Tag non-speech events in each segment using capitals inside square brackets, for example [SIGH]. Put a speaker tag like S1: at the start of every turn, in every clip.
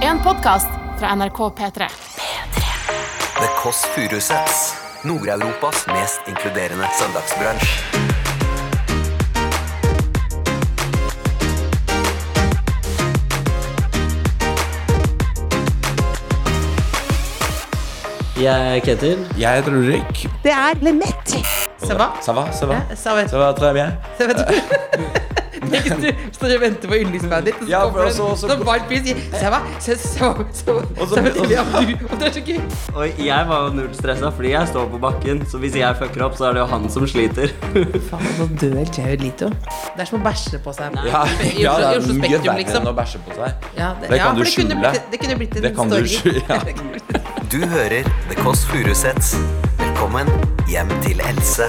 S1: En podkast fra NRK P3.
S2: The Kåss Furuseths. Nord-Europas mest inkluderende søndagsbransj.
S3: Jeg er Ketil.
S4: Jeg heter Ulrik.
S5: Det er Lemett.
S6: Ça va?
S4: Ça va, ça va?
S6: Ja, ça va.
S4: Ça va, très bien.
S6: Så vet du Tenk du står og venter på yndlingsbandet ditt, og så
S4: Ja, for
S6: kommer det
S4: også-
S6: en
S4: også-
S6: sånn varm fyr og sier «Se hva? Se- se hva? Se hva?»
S4: Og så-
S6: Så vet
S4: og så-
S6: vi at du- og det er så gøy.
S3: Og jeg var jo null stressa fordi jeg står på bakken, så hvis jeg fucker opp, så er det jo han som sliter.
S6: Det er som å bæsje på
S4: Ja,
S6: seg. I
S4: ja,
S6: Oslo,
S4: det
S6: i
S4: er
S6: Oslo
S4: mye
S6: Spektrum,
S4: verre
S6: liksom.
S4: enn å bæsje på seg.
S6: Ja, det,
S4: Det
S6: ja,
S4: kan
S6: for
S4: du
S6: det kunne
S4: skjule.
S6: blitt- Det kunne blitt en
S4: Det kan du
S6: story.
S4: skjule, ja.
S6: Det [LAUGHS] kunne blitt-
S2: Du hører The Kåss Furuseths. Velkommen hjem til Else.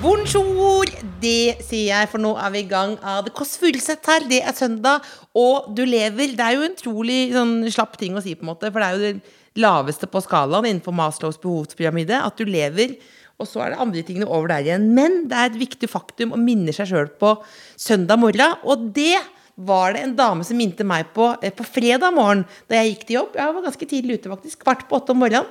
S6: Bonjour! Det sier jeg, for nå er vi i gang av The Kåss Furuseth her. Det er søndag, og du lever. Det er jo en utrolig sånn, slapp ting å si, på en måte, for det er jo det laveste på skalaen innenfor Maslows behovspyramide, at du lever. Og så er det andre tingene over der igjen. Men det er et viktig faktum å minne seg sjøl på søndag morgen, og det var det en dame som minte meg på eh, på fredag morgen da jeg gikk til jobb. Jeg var ganske tidlig ute, faktisk. Kvart på åtte om morgenen.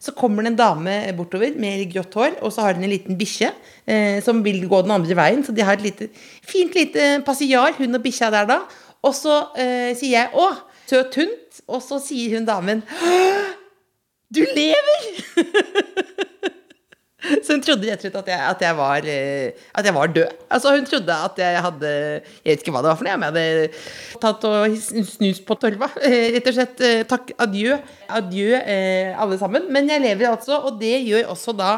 S6: Så kommer det en dame bortover med grått hår, og så har hun en liten bikkje eh, som vil gå den andre veien. Så de har et lite, fint lite passiar, hun og bikkja der da. Og så eh, sier jeg 'Å, søt hund', og så sier hun damen 'Du lever!' Så hun trodde rett og slett at jeg, at jeg, var, eh, at jeg var død. Altså Hun trodde at jeg hadde Jeg vet ikke hva det var for noe, men jeg hadde tatt og sn- snus på tolva. Eh, [LAUGHS] Rett og slett eh, takk, adjø, adjø eh, alle sammen. Men jeg lever altså, og det gjør også da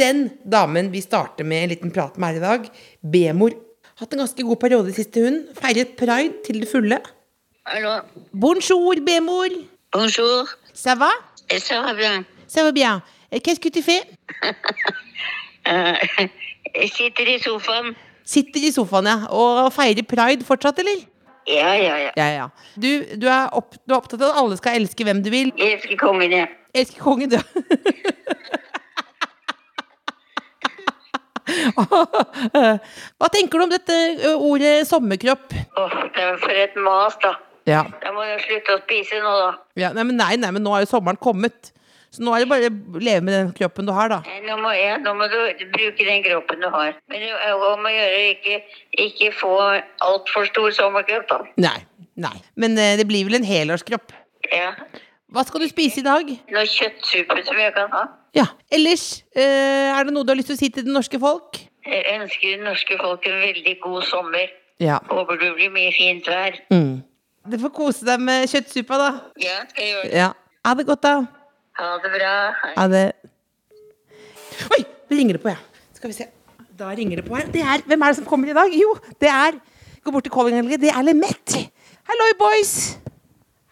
S6: den damen vi starter med en liten prat med her i dag, B-mor. Hatt en ganske god periode sist til hun. Feiret pride til det fulle.
S7: Alors,
S6: Bonjour, B-mor.
S7: bonjour,
S6: Ça va?
S7: et ça va bien.
S6: Ça va bien. Eh, Qu'est-ce que tu fais?
S7: Euh, [LAUGHS] et sitter i sofaen.
S6: Sitter i sofaen, ja. Og feirer pride fortsatt, eller?
S7: Ja, ja, ja.
S6: Ja, ja. Du, du, er opp, du er opptatt av at alle skal elske hvem du vil.
S7: Jeg skal komme ned.
S6: Elske kongen, du. [LAUGHS] Hva tenker du om dette ø, ordet sommerkropp?
S7: Åh, det er for et mas, da.
S6: Ja.
S7: Da må jeg slutte å spise nå, da.
S6: ja nei, men nei, nei, men nå er jo sommeren kommet. Så nå er det bare å leve med den kroppen du har, da.
S7: Nei, Nå må, jeg, nå må du bruke den kroppen du har. Men det er jo om å gjøre å ikke, ikke få altfor stor sommerkropp, da.
S6: Nei. nei. Men ø, det blir vel en helårskropp.
S7: Ja.
S6: Hva skal du spise i dag?
S7: Noe kjøttsuppe som jeg kan ha.
S6: Ja. Ellers, ø, er det noe du har lyst til å si til det norske folk?
S7: Jeg ønsker det norske folk en veldig god sommer.
S6: Ja.
S7: Håper det blir mye fint vær.
S6: Mm. Du får kose deg med kjøttsuppa, da.
S7: Ja, skal jeg gjøre det.
S6: Ja. Ha det godt, da.
S7: Ha det bra. Hei.
S6: Ha det. Oi, det ringer det på, ja. Skal vi se. Da ringer det på her. Det er, hvem er det som kommer i dag? Jo, det er Gå bort til callinganlegget. Det er Lemet. Halloi, boys.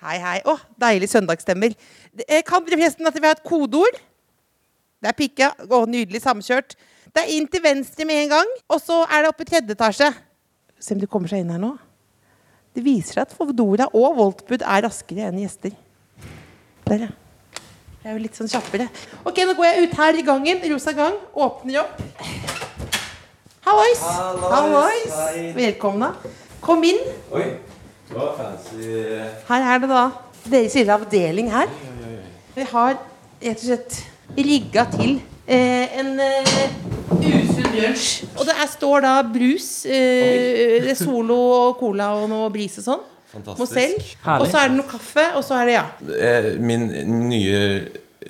S6: Hei, hei. Å, deilig søndagsstemmer. Det- eh, Kan dere forresten at vi har et kodeord? Det er pikka. Å, nydelig samkjørt. Det er inn til venstre med en gang, og så er det oppe i tredje etasje. Se om de kommer seg inn her nå. Det viser at Fodora og Voltbud er raskere enn gjester. Der, ja. Jeg er jo litt sånn kjappere. Ok, nå går jeg ut her i gangen. Rosa gang. Åpner opp. Hallois. Hallois. Velkomne. Kom inn.
S4: Oi, det var fancy. eh,
S6: Her er det da deres lille avdeling her. Vi har rett og slett rigga til eh, en eh, usunn lunsj. Og det er, står da brus, eh,
S4: [LAUGHS]
S6: det er Solo og cola og noe bris og sånn.
S4: Fantastisk.
S6: Mozell.
S3: Herlig.
S6: Og så er det noe kaffe, og så er det ja.
S4: Eh, Min nye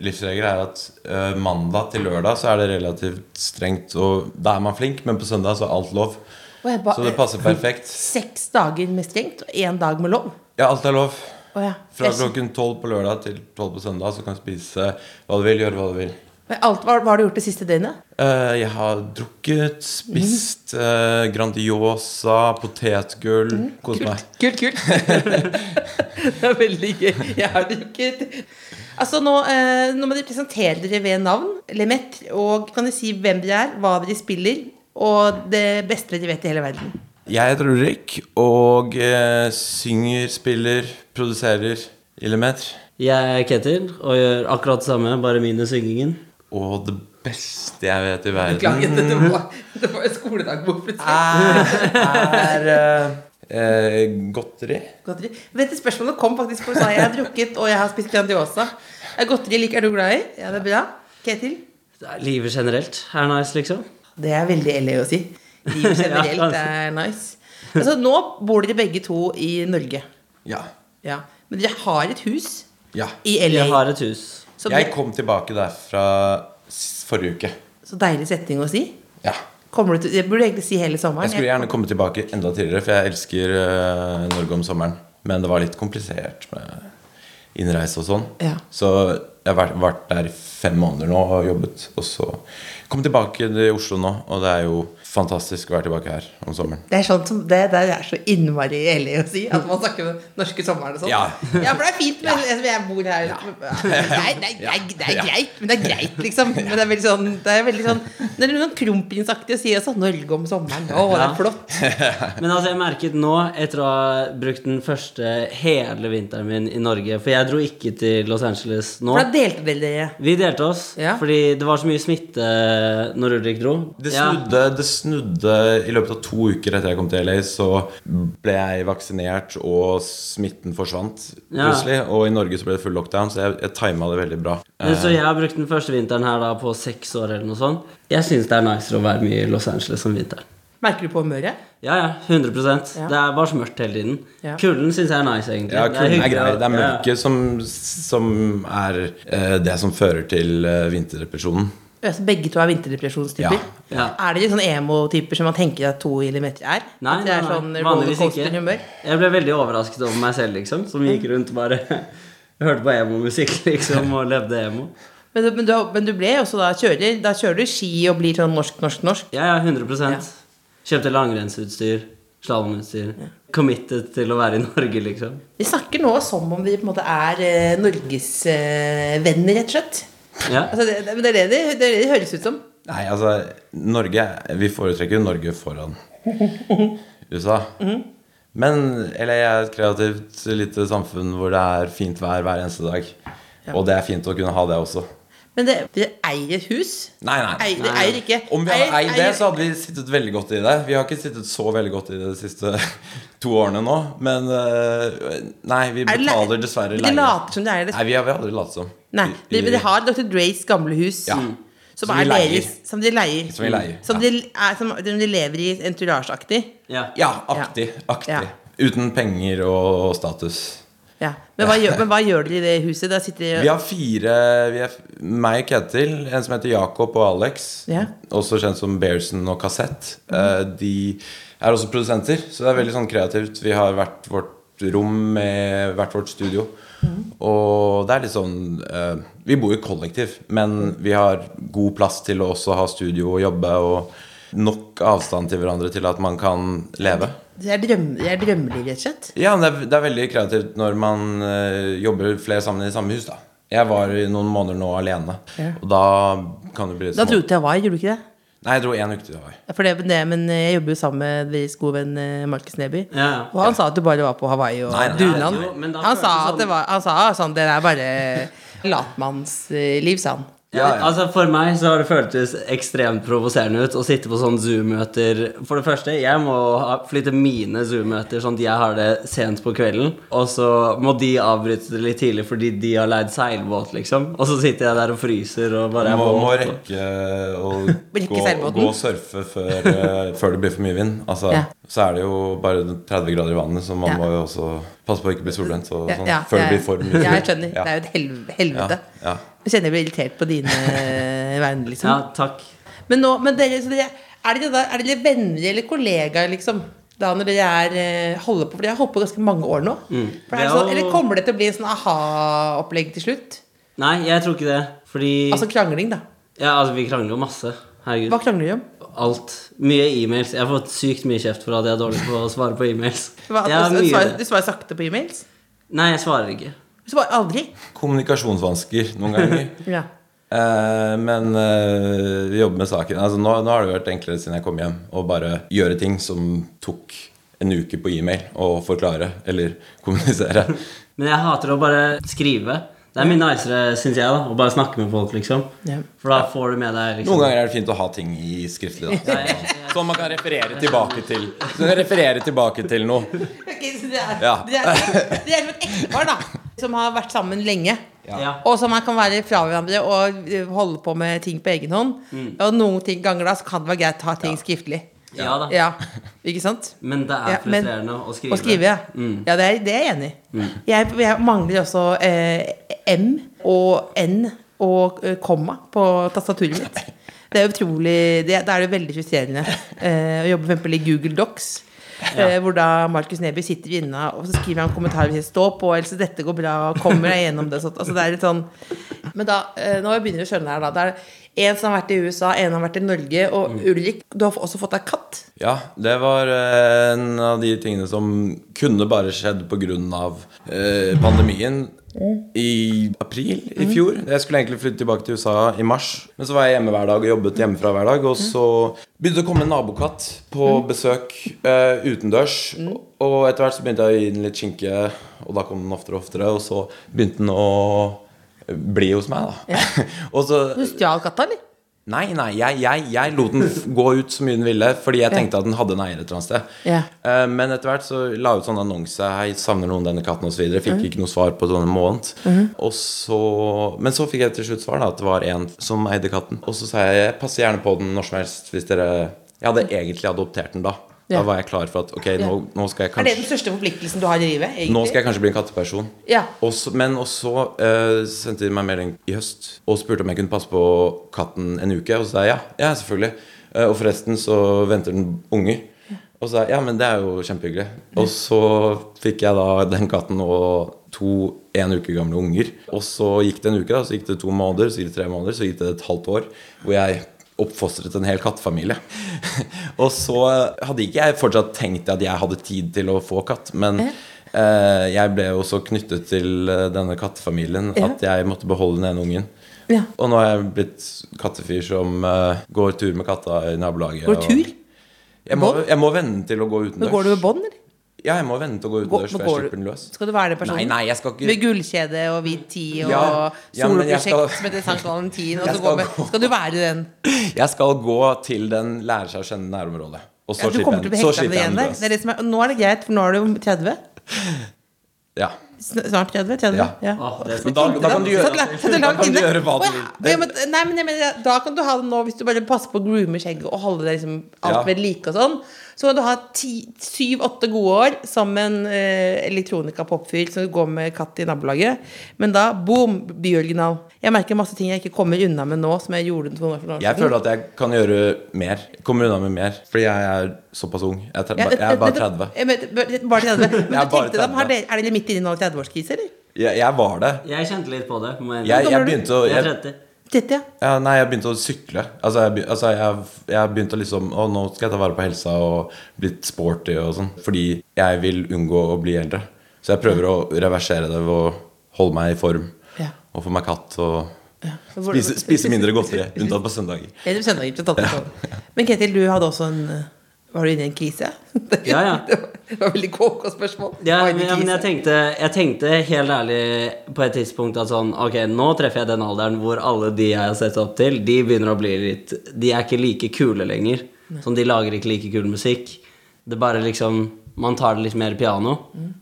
S4: livsregel er at eh, mandag til lørdag så er det relativt strengt, og da er man flink, men på søndag så er alt lov.
S6: Og jeg ba-
S4: Så det passer perfekt.
S6: Seks dager med strengt og én dag med lov.
S4: Ja, alt er lov.
S6: Å ja.
S4: Fra
S6: Jeg-
S4: klokken tolv på lørdag til tolv på søndag så kan du spise hva du vil, gjøre hva du vil.
S6: Men alt, hva, hva har du gjort det siste døgnet?
S4: Eh, jeg har drukket, spist eh, Grandiosa, potetgull, kost meg.
S6: Mm, Kult, kult. [LAUGHS] det er veldig gøy. Jeg har drukket. Altså nå, eh, nå må dere presentere dere ved navn, Lemet, og kan dere si hvem dere er, hva dere spiller, og det beste dere vet i hele verden.
S4: Jeg heter Ulrik og eh, synger, spiller, produserer Illimeter.
S3: Jeg er Ketil og gjør akkurat det samme, bare minus syngingen.
S4: Og det beste jeg vet i verden
S6: Beklager, det var, det var en skoledag.
S4: er eh, eh, godteri.
S6: Godteri. Vent, spørsmålet kom faktisk på sa jeg har drukket og jeg har spist Grandiosa. Er godteri liker du glad i? Ja, det er bra. Ketil?
S3: Livet generelt er nice, liksom.
S6: Det er veldig LA å si. Livet
S3: Ja,
S6: generelt
S3: altså.
S6: er nice. Altså, nå bor dere begge to i Norge.
S4: Ja.
S6: Ja. Men dere har et hus
S4: ja.
S6: i
S3: Vi
S6: LA.
S3: har et hus.
S6: Så,
S4: Jeg
S6: det-
S4: kom tilbake derfra s- forrige uke.
S6: så deilig setning å si.
S4: Ja.
S6: Kommer du til, jeg burde egentlig si hele
S4: Jeg
S6: sommeren.
S4: skulle gjerne komme tilbake enda tidligere, for jeg elsker eh, Norge om sommeren. Men det var litt komplisert med innreise og sånn.
S6: Ja.
S4: Så jeg har vært, vært der i fem måneder nå og jobbet. Og så kom tilbake til Oslo nå, og det er jo fantastisk å være tilbake her om sommeren.
S6: Det er sånn som det, det er så innmari ærlig å si. At man snakker om den norske sommeren og sånn.
S4: Ja.
S6: for det er fint, men altså, jeg bor her Nei, nei, det er- det er
S4: Ja.
S6: greit, men det er greit, liksom. Men det er veldig sånn Det er veldig sånn Det er noe kronprinsaktig å si også. Norge om sommeren. Å, det
S3: Ja.
S6: er flott.
S3: Men altså, jeg merket nå, etter å ha brukt den første hele vinteren min i Norge For jeg dro ikke til Los Angeles nå.
S6: For da delte dere det.
S3: Vi delte oss,
S6: Ja.
S3: fordi det var så mye smitte når Ulrik dro.
S4: Det
S3: Ja.
S4: snudde, det snudde i løpet av to uker etter jeg kom til LA, så ble jeg vaksinert, og smitten forsvant
S3: Ja.
S4: plutselig. Og i Norge så ble det full lockdown, så jeg, jeg tima det veldig bra.
S3: Men Så jeg har brukt den første vinteren her da på seks år eller noe sånt. Jeg syns det er nicer å være mye i Los Angeles om vinteren.
S6: Merker du på humøret?
S3: Ja, ja, 100
S6: Ja.
S3: Det er bare så mørkt hele tiden.
S6: Ja.
S3: Kulden syns jeg er nice, egentlig.
S4: Ja, kulden er
S3: hyggelig
S4: grei.
S3: å-
S4: Det er
S3: ja.
S4: mørket som, som er eh, det som fører til eh, vinterdepresjonen.
S6: Ja, så begge to er vinterdepresjonstyper?
S4: Ja.
S3: Ja.
S6: Er dere sånne emo-typer som man tenker at to millimeter er?
S3: Nei,
S6: at det
S3: nei,
S6: er
S3: nei.
S6: sånn
S3: Vanligvis ikke.
S6: rollercoaster-humør?
S3: Jeg ble veldig overrasket over meg selv, liksom. Som gikk rundt og bare [LAUGHS] hørte på emo-musikk, [LAUGHS] liksom, og levde emo.
S6: Men, du- men, du, men du ble også da kjører Da kjører du ski og blir sånn norsk, norsk, norsk.
S3: Ja, ja, 100
S6: Ja.
S3: Kjøpte langrennsutstyr, slalåmutstyr. Committed til å være i Norge, liksom.
S6: Vi snakker nå som om vi på en måte er eh, norgesvenner, rett og slett.
S3: Ja.
S6: Altså, det, det, men det, er det, det, det er det det høres ut som.
S4: Nei, altså Norge Vi foretrekker jo Norge foran [LAUGHS] USA. Men LA er et kreativt lite samfunn hvor det er fint vær hver eneste dag. Og det er fint å kunne ha det også.
S6: Men det, dere eier et hus.
S4: Nei, nei.
S6: Eier, dere eier ikke
S4: Om vi hadde
S6: Eier-
S4: eid det,
S6: eier-
S4: så hadde vi sittet veldig godt i det. Vi har ikke sittet så veldig godt i det de siste [LAUGHS] to årene nå. Men eh, nei, vi
S6: Er det le-
S4: betaler dessverre
S6: Dere
S4: leie.
S6: later som dere eier det.
S4: Nei, vi har, vi har aldri latt som.
S6: Nei,
S4: Vi-
S6: dere, men dere har Dr. Dreys gamle hus. mm,
S4: Ja.
S6: Som,
S4: Som vi
S6: er
S4: leier.
S6: deres, som de leier.
S4: Som vi leier,
S6: Som,
S4: ja.
S6: de, er, som som de lever i entourage-aktig.
S3: ja.
S4: Ja, aktig. aktig.
S6: Ja.
S4: Uten penger og status.
S6: Ja. Men, hva gjør- men hva gjør dere i det huset? Der sitter dere
S4: Vi har fire vi er, f- Meg, Ketil, en som heter Jakob og Alex.
S6: Ja.
S4: Også kjent som Bearson og Kassett. Eh, De er også produsenter, så det er veldig sånn kreativt. Vi har hvert vårt rom med hvert vårt studio. Og det er litt sånn eh, Vi bor jo kollektiv, men vi har god plass til å også ha studio og jobbe. Og nok avstand til hverandre til at man kan leve.
S6: Det er, drøm, det er drømmelig, rett og slett.
S4: Ja, men det er, det er veldig kreativt når man eh, jobber flere sammen i samme hus, da. Jeg var i noen måneder nå alene,
S6: Ja.
S4: og da kan det bli litt
S6: Da
S4: små-
S6: dro du til Hawaii, gjorde du ikke det?
S4: Nei, jeg dro én uke til Hawaii.
S6: Ja, For det, det, men eh, jeg jobber jo sammen med deres gode venn eh, Markus Neby.
S3: ja.
S6: Og han sa at du bare var på Hawaii og
S4: Nei, nei,
S6: Dunland.
S3: jo, men da
S6: Han sa
S3: føltes
S6: at det
S3: sånn-
S6: var Han sa sånn Det er bare latmannsliv, sa han.
S4: Ja, ja.
S3: Altså For meg så har det føltes ekstremt provoserende ut å sitte på sånne Zoom-møter. For det første, jeg må ha- flytte mine Zoom-møter sånn at jeg har det sent på kvelden. Og så må de avbryte det litt tidlig fordi de har leid seilbåt, liksom. Og så sitter jeg der og fryser og bare
S4: Du
S3: er
S4: må, må
S3: våt.
S4: rekke å
S6: [LAUGHS] Rekke
S4: gå,
S6: seilbåten.
S4: gå og surfe før, eh, før det blir for mye vind. Altså,
S6: Ja.
S4: Så er det jo bare 30 grader i vannet, så man
S6: Ja.
S4: må jo også passe på å ikke bli solbrent. Og,
S6: Ja,
S4: sånn,
S6: ja,
S4: før
S6: ja,
S4: det blir for mye
S6: Ja, jeg
S4: vind.
S6: skjønner.
S4: Ja.
S6: Det er jo et helv- helvete.
S4: Ja, ja.
S6: Jeg kjenner jeg blir irritert på dine eh, venner, liksom.
S3: Ja, takk.
S6: Men nå, men dere, så dere, er, dere da, er dere venner eller kollegaer, liksom? Da når dere er, eh, holder på, for dere har holdt på ganske mange år nå. For det
S3: Mm. Det
S6: er
S3: er
S6: sånn,
S3: jo-
S6: eller kommer det til å bli en sånn aha-opplegg til slutt?
S3: Nei, jeg tror ikke det. Fordi
S6: Altså krangling, da.
S3: Ja, altså, vi krangler jo masse. Herregud.
S6: Hva krangler de om?
S3: Alt. Mye e-mails. Jeg har fått sykt mye kjeft for at jeg er dårlig på å svare på e-mails.
S6: Hva,
S3: Jeg har
S6: du,
S3: mye-
S6: svarer, du svarer sakte på e-mails?
S3: Nei, jeg svarer ikke.
S6: Du svarer aldri.
S4: Kommunikasjonsvansker noen ganger.
S6: Ja.
S4: Eh, men eh, vi jobber med saken. Altså, nå, nå har det vært enklere siden jeg kom hjem å bare gjøre ting som tok en uke på e-mail å forklare eller [LAUGHS] kommunisere.
S3: Men jeg hater å bare skrive. Det er mye nicere, syns jeg, da, å bare snakke med folk, liksom.
S6: Ja.
S3: For da får du med deg liksom
S4: Noen ganger er det fint å ha ting i skriftlig. Da.
S3: Ja, ja, ja.
S4: Sånn man kan referere tilbake til. Så man kan referere tilbake til noe.
S6: Ok, så det er,
S4: Ja.
S6: det er, det er som et ektepar, da. Som har vært sammen lenge.
S3: Ja.
S6: Og som man kan være fra hverandre og eh, holde på med ting på egen hånd. Og noen ting, ganger da så kan det være greit å ha ting skriftlig.
S3: Mm. ja da.
S6: Ja, Ikke sant?
S3: Men det er
S6: Ja, men-
S3: frustrerende å skrive. Mm.
S6: Å skrive, ja. ja det, er, det er jeg enig i. Jeg, jeg mangler også eh, M og N og eh, komma på tastaturet mitt. Det er utrolig det- Da er det jo veldig frustrerende eh, å jobbe for eksempel i Google Docs. Eh, hvor da Markus Neby sitter inne og så skriver han kommentarer hvis jeg står på. Eller så dette går bra, og kommer jeg gjennom det. Så, altså, det er litt sånn Men da, eh, nå begynner jeg å skjønne her, da. Det er en som har vært i USA, en har vært i Norge. Og
S3: Mm.
S6: Ulrik, du har også fått deg katt.
S4: Ja, det var eh, en av de tingene som kunne bare skjedd pga. Eh, pandemien. I april i fjor. Jeg skulle egentlig flytte tilbake til USA i mars. Men så var jeg hjemme hver dag og jobbet hjemmefra hver dag. Og så begynte det å komme en nabokatt på besøk eh, utendørs. Og etter hvert så begynte jeg å gi den litt skinke, og da kom den oftere og oftere. Og så begynte den å bli hos meg, da. [LAUGHS] og så
S6: Du stjal katta, eller?
S4: Nei, nei, jeg, jeg, jeg lot den f- gå ut så mye den ville, fordi jeg tenkte at den hadde en eier et eller annet sted.
S6: Ja.
S4: Eh, Men etter hvert så la jeg ut sånn annonse Hei, savner noen denne katten osv. Fikk
S6: Mhm.
S4: ikke noe svar på sånn en måned. Og så, men så fikk jeg til slutt svar, da, at det var en som eide katten. Og så sa jeg jeg passer gjerne på den når som helst hvis dere Jeg hadde egentlig adoptert den da.
S6: Mhm. Ja.
S4: Da var jeg klar for at ok, nå, nå skal jeg
S6: Er det
S4: kanskje
S6: den største forpliktelsen du har i livet? egentlig?
S4: nå skal jeg kanskje bli en katteperson.
S6: Ja.
S4: Og så- men også eh, sendte de meg melding i høst og spurte om jeg kunne passe på katten en uke. Og så sa jeg ja, ja selvfølgelig. Eh, og forresten så venter den unger. Og så sa jeg ja, men det er jo kjempehyggelig. Og så fikk jeg da den katten og to en uke gamle unger. Og så gikk det en uke, da, så gikk det to måneder, så gikk det tre måneder, så gikk det et halvt år. Hvor jeg oppfostret en hel kattefamilie. [LAUGHS] og så hadde ikke jeg fortsatt tenkt at jeg hadde tid til å få katt, men eh, jeg ble jo så knyttet til eh, denne kattefamilien
S6: Ja.
S4: at jeg måtte beholde den ene ungen.
S6: Ja.
S4: Og nå er jeg blitt kattefyr som eh, går tur med katta i nabolaget.
S6: Går
S4: og-
S6: tur?
S4: Jeg må,
S6: Bånd?
S4: jeg må venne til å gå
S6: Men
S4: utendørs.
S6: går du med bånd, eller?
S4: Ja, jeg må venne til å gå
S6: Går,
S4: utendørs, for jeg
S6: går
S4: slipper den
S6: du,
S4: løs.
S6: skal du være den personen?
S4: Nei, nei, jeg skal ikke-
S6: Med gullkjede og hvit tid og
S4: Ja, ja, men jeg
S6: soloprosjekt
S4: skal-
S6: som heter Sankt Valentin. Og
S4: Jeg
S6: så
S4: skal
S6: går med,
S4: gå-
S6: skal du være den?
S4: Jeg skal gå til den lærer seg å kjenne nærområdet. Og så
S6: Ja, du kommer
S4: slipper
S6: til å
S4: jeg,
S6: bli
S4: så
S6: hekta med
S4: slipper
S6: det
S4: jeg den
S6: igjen der.
S4: løs.
S6: Det er det som er, nå er det greit, for nå er du jo 30.
S4: Ja.
S6: Sn- Snart 30? 30
S4: Ja.
S3: Åh, det er
S4: Men da, da kan du gjøre,
S6: Satt la- satt
S4: da
S6: langt
S4: kan du
S6: inne.
S4: gjøre hva du
S6: Å,
S4: vil.
S6: ja.
S4: Det-
S6: Ja, men, nei, men, jeg mener, da kan du ha det nå hvis du bare passer på å groome skjegget og holde det liksom alt
S4: Ja.
S6: ved like og sånn. Så kan du ha syv-åtte gode år som en eh, elektronika-popfyr som går med katt i nabolaget. Men da boom, byoriginal. Jeg merker masse ting jeg ikke kommer unna med nå som jeg gjorde for noen år
S4: Jeg føler at jeg kan gjøre mer. Kommer unna med mer. Fordi jeg er såpass ung. Jeg er, tre-
S6: Ja,
S4: jeg er bare
S6: men-
S4: 30.
S6: [LAUGHS] Jeg vet- Bare 30. Men
S4: Jeg er
S6: du
S4: bare
S6: tenkte dem, har
S4: 30.
S6: dere- er dere midt inne i noen 30-årskrise, eller?
S4: Jeg, jeg var det.
S3: Jeg kjente litt på det. Må jeg,
S4: Jeg,
S6: gammel er
S4: jeg
S6: du?
S4: begynte å
S3: jeg er
S4: jeg,
S3: 30.
S6: 30, ja.
S4: ja, Nei, jeg begynte å sykle. Altså, jeg, begy- altså, jeg, jeg begynte å liksom Å, nå skal jeg ta vare på helsa og blitt sporty og sånn. Fordi jeg vil unngå å bli eldre. Så jeg prøver å reversere det ved å holde meg i form.
S6: Ja.
S4: Og få meg katt og
S6: Hvordan-
S4: spise, spise mindre godteri. Unntatt på søndager.
S6: Det er søndager til tatt sånn. Men Ketil, du hadde også en eh, Var du inne i en krise? [LAUGHS]
S3: Ja, ja.
S6: Det var- det var veldig kåka spørsmål.
S3: Ja,
S6: Var du
S3: men,
S6: inne i
S3: ja, men jeg,
S6: krise?
S3: tenkte, jeg tenkte helt ærlig på et tidspunkt at sånn Ok, nå treffer jeg den alderen hvor alle de jeg har sett opp til, de begynner å bli litt De er ikke like kule lenger. Sånn, de lager ikke like kul musikk. Det bare liksom Man tar det litt mer piano.
S6: Mm.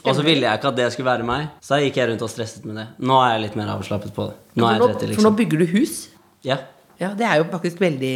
S3: Og så ville jeg ikke at det skulle være meg, så da gikk jeg rundt og stresset med det. Nå er jeg litt mer avslappet på det. Nå er jeg 30,
S6: for, nå, for nå
S3: liksom.
S6: bygger du hus.
S3: Ja.
S6: Ja, Det er jo faktisk veldig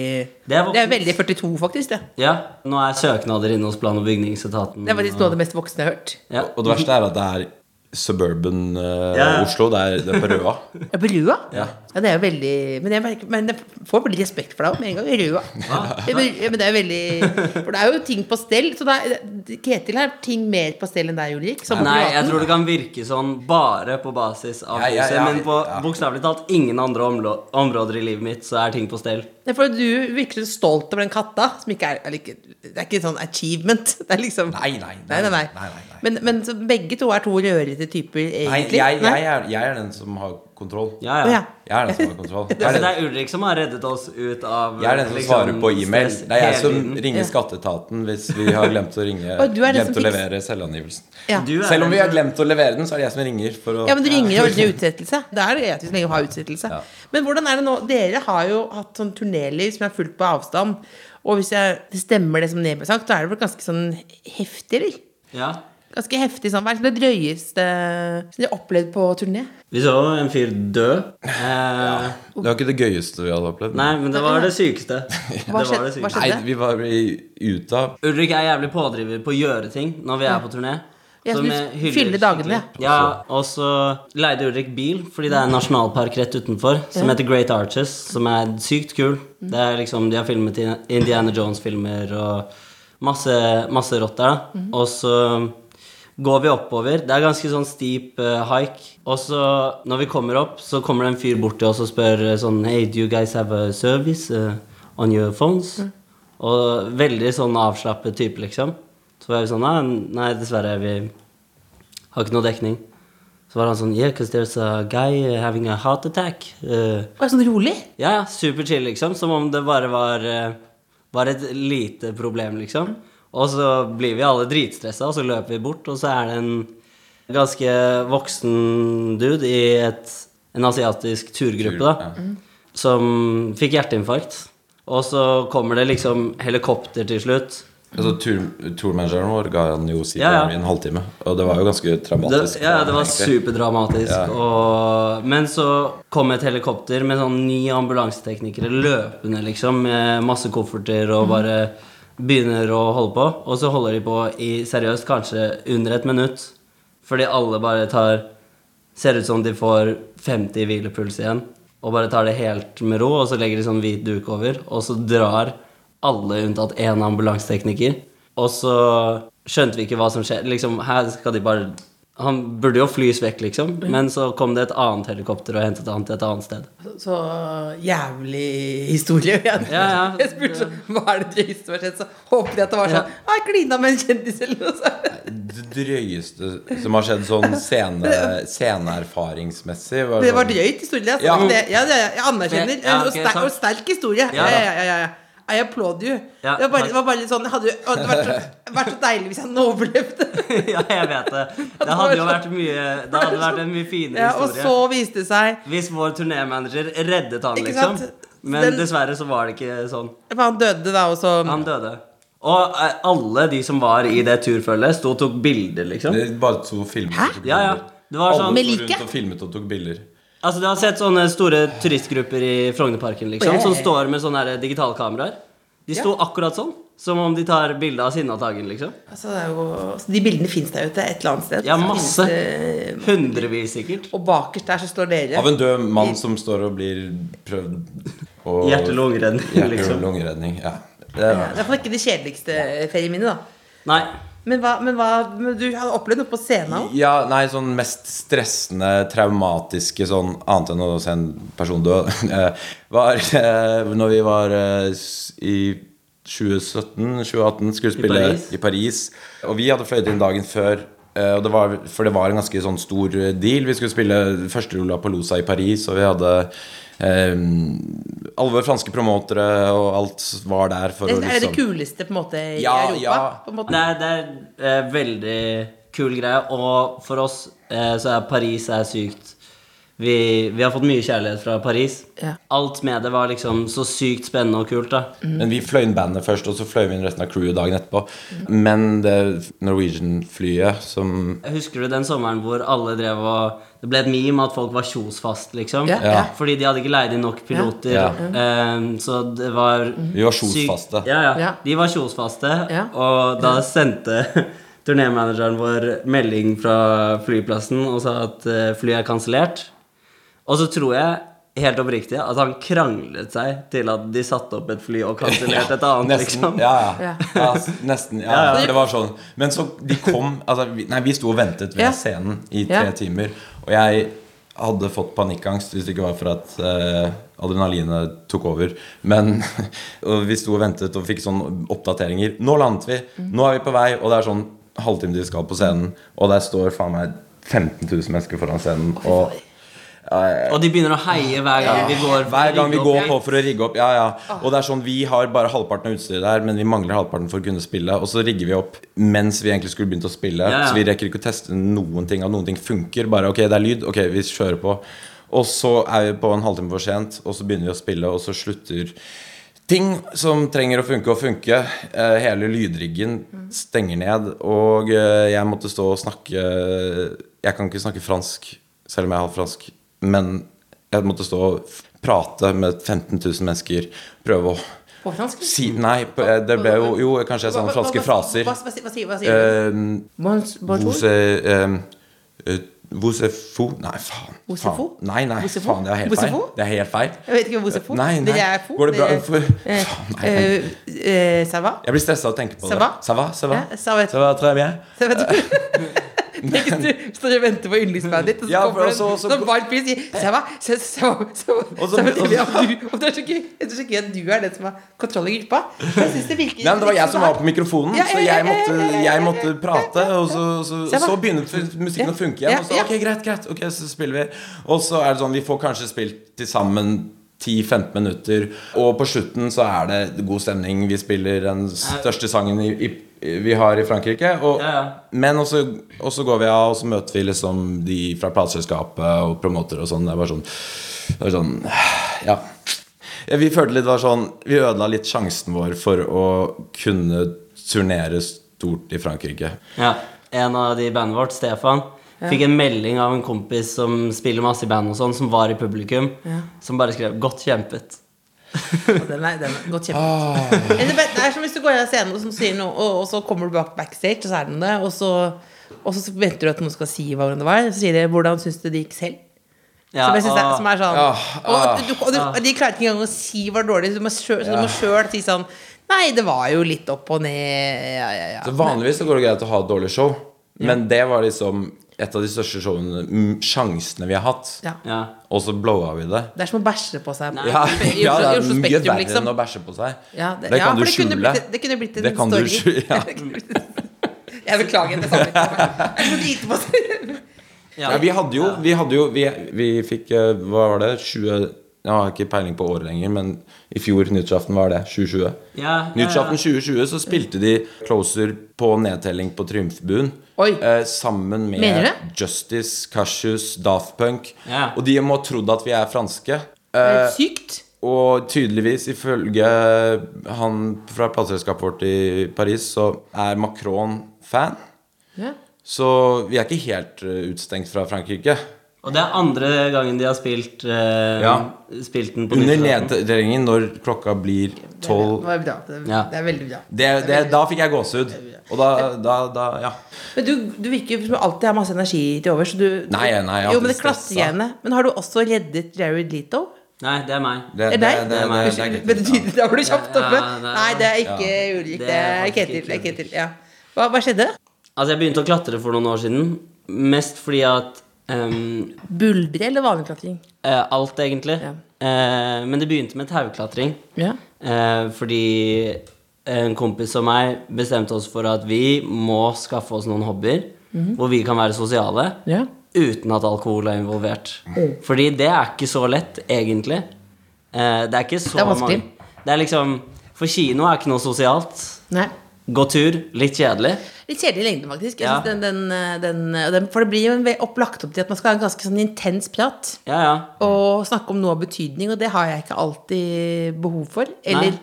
S3: Det er voksent.
S6: Det er veldig 42, faktisk. Det
S3: ja. Nå er søknader inne hos plan- og bygningsetaten.
S6: Det er faktisk noe av det mest voksne jeg har hørt.
S3: Ja.
S4: Og det verste er at det er suburban eh,
S3: Ja, ja.
S4: Oslo. Det er, det er på Røa.
S6: Ja, på Røa?
S4: Ja.
S6: det er jo veldig Men jeg, merker, men jeg får veldig respekt for deg også, med en gang. Røa. Det er- Ja, men det er veldig For det er jo ting på stell. Så det er, Ketil har ting mer på stell enn deg, Ulrik. som på
S3: Nei, jeg
S6: privaten.
S3: tror det kan virke sånn bare på basis av
S4: Ja, ja,
S3: huset,
S4: ja,
S3: men på
S4: ja.
S3: bokstavelig talt ingen andre omlo- områder i livet mitt så er ting på stell.
S6: Nei, for du virker så stolt over den katta, som ikke er, eller ikke, det er ikke en sånn achievement. [LAUGHS] Det er liksom
S4: Nei, nei, nei,
S6: nei, nei, nei.
S4: nei, nei, nei.
S6: Men, men så begge to er to rødere forskjellige typer,
S4: Nei,
S6: egentlig?
S4: jeg,
S6: Nei?
S4: jeg, er, jeg er den som har kontroll.
S3: Ja,
S6: Å,
S3: ja.
S6: ja.
S4: Jeg er den som har kontroll. Jeg
S3: [LAUGHS] Det
S4: er
S3: er, det
S4: den,
S3: er Ulrik som har reddet oss ut av
S4: jeg er den som
S3: liksom,
S4: svarer på e-mail.
S3: stress
S4: Det er jeg
S3: hele
S4: som
S3: tiden.
S4: ringer Skatteetaten hvis vi har glemt å ringe
S6: Å, du er den
S4: Glemt
S6: som
S4: å
S6: fikser-
S4: levere selvangivelsen.
S6: Ja.
S3: Du er
S4: Selv om vi
S3: den
S4: har glemt å levere den, så er det jeg som ringer. For å,
S6: Ja, men du ringer og ordner utsettelse. Da er det greit hvis man har utsettelse.
S4: Ja.
S6: Men hvordan er det nå? Dere har jo hatt sånn turnéliv som er fullt på avstand. Og hvis jeg, det stemmer det som Neby har sagt, da er det vel ganske sånn heftig, eller?
S3: som ja.
S6: Ganske heftig sånn. Hva er det drøyeste som dere har opplevd på turné?
S3: Vi så en fyr dø. Eh,
S4: Det var ikke det gøyeste vi hadde opplevd.
S3: Nei, men det var det
S4: [LAUGHS]
S3: sykeste. Det var det
S6: skjedde- hva
S3: sykeste.
S6: skjedde?
S4: Nei, vi var i Utah.
S3: Ulrik er jævlig pådriver på å gjøre ting når vi er på turné.
S6: Ja,
S3: Så
S6: du
S3: vi hyller
S6: fyller dagene,
S3: skikkelig. Ja, Og så leide Ulrik bil, fordi det er en nasjonalpark rett utenfor som heter Great Arches, som er sykt kul. Det er liksom, De har filmet i- Indiana Jones-filmer og masse, masse rått der. da. Og så går vi oppover. Det er ganske sånn steep eh, hike. Og så, når vi kommer opp, så kommer det en fyr bort til oss og spør eh, sånn Hey, do you guys have a service eh, on your phones? Og veldig sånn avslappet type, liksom. Så var vi sånn Nei, nei dessverre. Vi har ikke noe dekning. Så var han sånn Yeah, because there's a guy eh, having a heart attack. Eh,
S6: Å, sånn rolig?
S3: ja, ja, super chill, liksom. Som om det bare var, eh, var et lite problem, liksom. Og så blir vi alle dritstressa, og så løper vi bort, og så er det en ganske voksen dude i et, en asiatisk turgruppe,
S4: Tur,
S3: da,
S4: ja.
S3: som fikk hjerteinfarkt. Og så kommer det liksom helikopter til slutt.
S4: Altså, tur, Turmanageren vår ga han jo CPR
S3: Ja, ja.
S4: i en halvtime, og det var jo ganske traumatisk.
S3: Det, ja, det var
S4: egentlig.
S3: superdramatisk. Og, men så kom et helikopter med sånn ni ambulanseteknikere løpende, liksom, med masse kofferter og bare begynner å holde på. Og så holder de på i seriøst kanskje under et minutt, fordi alle bare tar Ser ut som de får 50 i hvilepuls igjen, og bare tar det helt med ro, og så legger de sånn hvit duk over, og så drar alle unntatt én ambulansetekniker. Og så skjønte vi ikke hva som skjedde. Liksom, her skal de bare Han burde jo flys vekk, liksom, men så kom det et annet helikopter og hentet han til et annet sted.
S6: Så, så jævlig historie. Ja,
S3: ja.
S6: [LAUGHS] Jeg spurte sånn Hva er det drøyeste som har skjedd? Så håpet jeg at det var sånn «Ah, Jeg klina med en kjendis eller noe sånt.
S4: Det drøyeste som har skjedd sånn scene,
S6: [LAUGHS]
S4: sceneerfaringsmessig var
S6: [LAUGHS] Det var
S4: sånn-
S6: drøyt historie. Jeg,
S4: Ja.
S6: ja. det. Ja, ja, ja, jeg anerkjenner.
S3: Ja, ok,
S6: og, sterk,
S3: sant.
S6: og sterk historie.
S3: Ja,
S6: Ja,
S3: da.
S6: ja, ja, ja, ja. I applaud you.
S3: Ja,
S6: det, var bare,
S3: takk.
S6: det var bare litt sånn Det hadde jo det hadde vært, så, vært så deilig hvis han overlevde.
S3: [LAUGHS] [LAUGHS] ja, jeg vet det. Det hadde jo vært mye Det hadde vært en mye finere
S6: Ja, og
S3: historie.
S6: så viste det seg
S3: Hvis vår turnémanager reddet han,
S6: Ikke
S3: liksom.
S6: sant?
S3: Men
S6: Den-
S3: dessverre så var det ikke sånn.
S6: For han døde da, og så
S3: Mm. Han døde. Og eh, alle de som var i det turfølget, sto og tok bilder, liksom.
S4: Det bare to filmer. Hæ?
S3: Ja, ja. Det var sånn
S4: Alle
S6: Med
S4: sto
S6: like?
S4: rundt og filmet og tok bilder.
S3: Altså, Du har sett sånne store turistgrupper i Frognerparken, liksom,
S6: Ja.
S3: som står med sånne her digitalkameraer. De sto akkurat sånn. Som om de tar bilde av Sinnataggen, liksom.
S6: altså, det er jo, altså, De bildene fins der ute et eller annet sted.
S3: Ja,
S6: Så
S3: masse.
S6: finnes det-
S3: Hundrevis, sikkert.
S6: og bakerst der så står dere.
S4: Av en død mann som står og blir prøvd og-
S3: Hjerte-lungeredning,
S4: Hjerte- og
S3: liksom.
S4: lungeredning. Ja. Det
S6: Ja,
S4: er
S6: Det er i hvert fall ikke det kjedeligste ferieminnet, da.
S3: Nei.
S6: Men, hva, men, hva, men du hadde opplevd noe på scenen òg?
S4: ja, nei, sånn mest stressende, traumatiske sånn Annet enn å se en person dø [LAUGHS] eh, Var eh, når vi var eh, s- i 2017-2018 skulle spille
S3: I Paris.
S4: i Paris. Og vi hadde fløyet inn dagen før. eh, Og det var, for det var en ganske sånn stor eh, deal. Vi skulle spille første Lollapalooza i Paris, og vi hadde eh, alle våre franske promotere, og alt var der for
S6: Det
S4: å
S6: er det
S4: liksom
S6: kuleste på en måte i
S4: Ja,
S6: Europa?
S4: ja.
S6: På en måte.
S3: Det er, det er eh, veldig kul greie, og for oss eh, så er Paris er sykt vi, vi har fått mye kjærlighet fra Paris.
S6: Ja.
S3: Alt med det var liksom så sykt spennende og kult. da
S4: Men vi fløy inn bandet først, og så fløy vi inn resten av crewet dagen etterpå. Men det Norwegian-flyet som
S3: Husker du den sommeren hvor alle drev og Det ble et meme at folk var kjosfast, liksom.
S6: Ja, ja.
S3: Fordi de hadde ikke leid inn nok piloter.
S4: Ja. Mhm.
S3: eh, så det var
S4: Vi var kjosfaste.
S3: sykt- Ja, ja,
S6: Ja.
S3: De var kjosfaste,
S6: Ja.
S3: og da sendte [LAUGHS] turnémanageren vår melding fra flyplassen og sa at eh, flyet er kansellert. Og så tror jeg helt oppriktig at han kranglet seg til at de satte opp et fly og
S4: [LAUGHS]
S3: kansellerte et annet.
S4: Nesten.
S3: liksom
S4: Ja, ja.
S6: Ja.
S4: ja s- nesten. Ja,
S3: Ja, ja.
S4: For det var sånn. Men så de kom altså, vi, Nei, vi sto og ventet ved
S6: Ja.
S4: scenen i tre
S6: Ja.
S4: timer, og jeg hadde fått panikkangst hvis det ikke var for at eh, adrenalinet tok over. Men [LAUGHS] og vi sto og ventet og fikk sånne
S6: Mm.
S4: sånn oppdateringer. Nå landet vi! Nå er vi på vei! Og det er sånn halvtime til vi skal på scenen, og der står faen meg 15 000 mennesker foran scenen. Og
S3: Og de begynner å heie hver gang vi går
S4: Altså, hver gang vi
S3: rigge
S4: går
S3: opp. Ah.
S4: på for å rigge opp. Ja, ja. Og det er sånn, Vi har bare halvparten av utstyret der, men vi mangler halvparten for å kunne spille. Og så rigger vi opp mens vi egentlig skulle begynt å spille.
S3: Ja, ja.
S4: Så vi rekker ikke å teste noen ting. At noen ting funker. Bare ok, det er lyd. Ok, vi kjører på. Og så er vi på en halvtime for sent, og så begynner vi å spille, og så slutter ting som trenger å funke og funke. Eh, Hele lydriggen stenger ned, og eh, jeg måtte stå og snakke Jeg kan ikke snakke fransk, selv om jeg er halvt fransk, men jeg måtte stå og f- prate med 15 000 mennesker. Prøve å
S6: På fransk?
S4: si Nei, på- eh, det ble jo Jo, kanskje jeg sa noen
S6: Hva- hva-
S4: franske
S6: hva-
S4: fraser.
S6: Hva, hva, hva, sier- hva sier du?
S4: Eh,
S6: Bons- bonjour?
S4: Vous êtes, eh, eh, vous êtes fou? Nei, faen.
S6: Vous êtes
S4: faen.
S6: fou?
S4: Nei, nei,
S6: Vous êtes
S4: faen,
S6: fou?
S4: det er helt
S6: Vous êtes
S4: feil.
S6: fou?
S4: Det er helt feil.
S6: Jeg vet ikke hvor c'est fou.
S4: Nei, nei.
S6: Dere er fou.
S4: Går det bra?
S6: Dere-
S4: [LAUGHS] Faen, nei.
S6: Eh, eh, Ça va?
S4: Jeg blir stressa av å tenke på
S6: Ça
S4: det.
S6: va?
S4: Ça va? Ça va?
S6: Ja, ça va.
S4: Ça va très bien?
S6: Så vet du Tenk hvis du står og venter på yndlingsbandet ditt, og så
S4: Ja, for
S6: kommer det en
S4: også- også-
S6: sånn varm pris sier «Se hva, se- se hva, se hva»,
S4: Og
S6: så
S4: så-
S6: er
S4: og
S6: det
S4: så-
S6: tydelig at du- og det er så gøy det er så gøy at du er den som har kontroll i gruppa. Jeg synes det virker
S4: Nei, men Det var jeg som var på mikrofonen,
S6: Ja,
S4: så
S6: ja, ja,
S4: jeg måtte,
S6: ja, ja, ja, ja.
S4: jeg måtte prate. Og så, så,
S6: Se hva?
S4: så begynner f- musikken
S6: Ja,
S4: å funke
S6: ja,
S4: igjen. Og så
S6: ja.
S4: ok, greit, greit, ok, så spiller vi. Og så er det sånn, vi får kanskje spilt til sammen 10-15 minutter. Og på slutten så er det god stemning. Vi spiller den største sangen i, i, vi har i Frankrike. Og,
S3: Ja, ja.
S4: Men også, og så går vi av, og så møter vi liksom de fra plateselskapet og promoter og sånn. Det er bare sånn, det er sånn Ja. Ja, Vi følte litt det var sånn Vi ødela litt sjansen vår for å kunne turnere stort i Frankrike.
S3: Ja. En av de i bandet vårt, Stefan, fikk en melding av en kompis som spiller masse i band og sånn, som var i publikum, som bare skrev 'godt
S6: [LAUGHS]
S3: kjempet'.
S6: Den er, den er godt kjempet.
S4: Ah.
S3: Ah.
S6: Men Det det er som hvis du går av scenen og, så sier noe, og, og så kommer du bak backstage, og så er det noe, og så, og så venter du at noen skal si hva- hvordan det var. Så sier de 'Hvordan syns du det gikk selv?'
S3: Ja, Ah.
S6: som jeg synes er,
S3: og-
S6: som er sånn
S4: Ah,
S6: og, du, og, du, og de klarer ikke engang å si hva dårlig så Du må sjøl si sånn Nei, det var jo litt opp og ned ja, ja, ja.
S4: Så Vanligvis så går det greit å ha et dårlig show, men det var liksom et av de største showene, mm, sjansene vi har hatt.
S6: Ja.
S3: ja.
S4: Og så blowa vi det.
S6: Det er som å bæsje på seg.
S3: Nei.
S4: Ja,
S6: [LAUGHS] I
S4: ja, det
S6: Oslo- i
S4: er
S6: Oslo
S4: mye
S6: Spektrum,
S4: verre
S6: liksom.
S4: enn å bæsje på seg.
S6: Ja, det-
S4: det
S6: ja,
S4: kan
S6: for
S4: du
S6: det kunne
S4: skjule.
S6: blitt- det kunne blitt en
S4: Det kan du
S6: story.
S4: skjule, ja.
S6: [LAUGHS] Det kunne blitt en- Jeg beklager.
S4: [LAUGHS]
S6: Det samme. Jeg får lite på seg.
S3: Ja.
S4: Ja, vi hadde jo, vi, hadde jo vi, vi fikk, eh, hva var det, 20 Jeg har ikke peiling på året lenger, men i fjor, nyttårsaften, var det 2020.
S3: Ja, ja,
S4: Nyttårsaften
S3: ja.
S4: 2020 så spilte de Closer på nedtelling på Triumfbuen.
S6: Oi.
S4: Eh, sammen med
S6: Mener du det?
S4: Justice, Cassius, Daft Punk.
S3: Ja.
S4: Og de må ha trodd at vi er franske.
S6: Det
S4: Eh,
S6: er Sykt.
S4: og tydeligvis, ifølge han fra plateselskapet vårt i Paris, så er Macron fan.
S6: Ja.
S4: Så vi er ikke helt eh, utstengt fra Frankrike.
S3: Og det er andre gangen de har spilt, eh,
S4: Ja.
S3: spilt den på
S4: Under
S3: nyttårsaften.
S4: nedtellingen når klokka blir
S6: Det
S4: tolv
S6: var bra. Det,
S3: Ja.
S6: det er veldig bra.
S4: det, det, Da fikk jeg gåsehud. Og da, da, da Ja.
S6: Men du, du virker jo som alltid har masse energi til overs. så Du,
S4: Nei, nei, jeg er
S6: jo, men det
S4: alltid altså. stressa.
S6: klassegreiene. Men har du også reddet Jared Leto?
S3: Nei, det er meg.
S4: Det,
S6: Er
S4: det,
S6: det
S4: det, det,
S6: deg?
S4: det, det er
S6: Unnskyld, men
S4: greit. Ja.
S6: Da var du kjapt
S3: Ja,
S6: oppe.
S3: ja, det er-
S6: Nei, det er ikke Ulrik.
S3: Det
S6: Det
S3: er
S6: er
S3: faktisk
S6: Ketil.
S3: ikke
S6: Det er
S3: Ulrik.
S6: Ketil ja. hva, hva skjedde?
S3: Altså, jeg begynte å klatre for noen år siden. Mest fordi at ehm,
S6: Buldre eller vanlig klatring?
S3: eh, Alt, egentlig.
S6: Ja.
S3: Eh, men det begynte med tauklatring.
S6: Ja.
S3: Eh, fordi en kompis og meg bestemte oss for at vi må skaffe oss noen hobbyer hvor vi kan være sosiale
S6: Mhm. Ja. Mm.
S3: uten at alkohol er involvert. Fordi det er ikke så lett, egentlig. Eh, det er ikke så
S6: Det er vanskelig.
S3: mange Det er liksom For kino er ikke noe sosialt.
S6: Nei.
S3: Gå tur, litt kjedelig.
S6: Litt kjedelig i lengden, faktisk. Jeg
S3: Ja.
S6: synes den, den, eh, den, eh, den, for det blir jo en ve- opp- lagt opp til at man skal ha en ganske sånn intens prat.
S3: Ja, ja.
S6: Og snakke om noe av betydning, og det har jeg ikke alltid behov for. Eller
S3: Nei.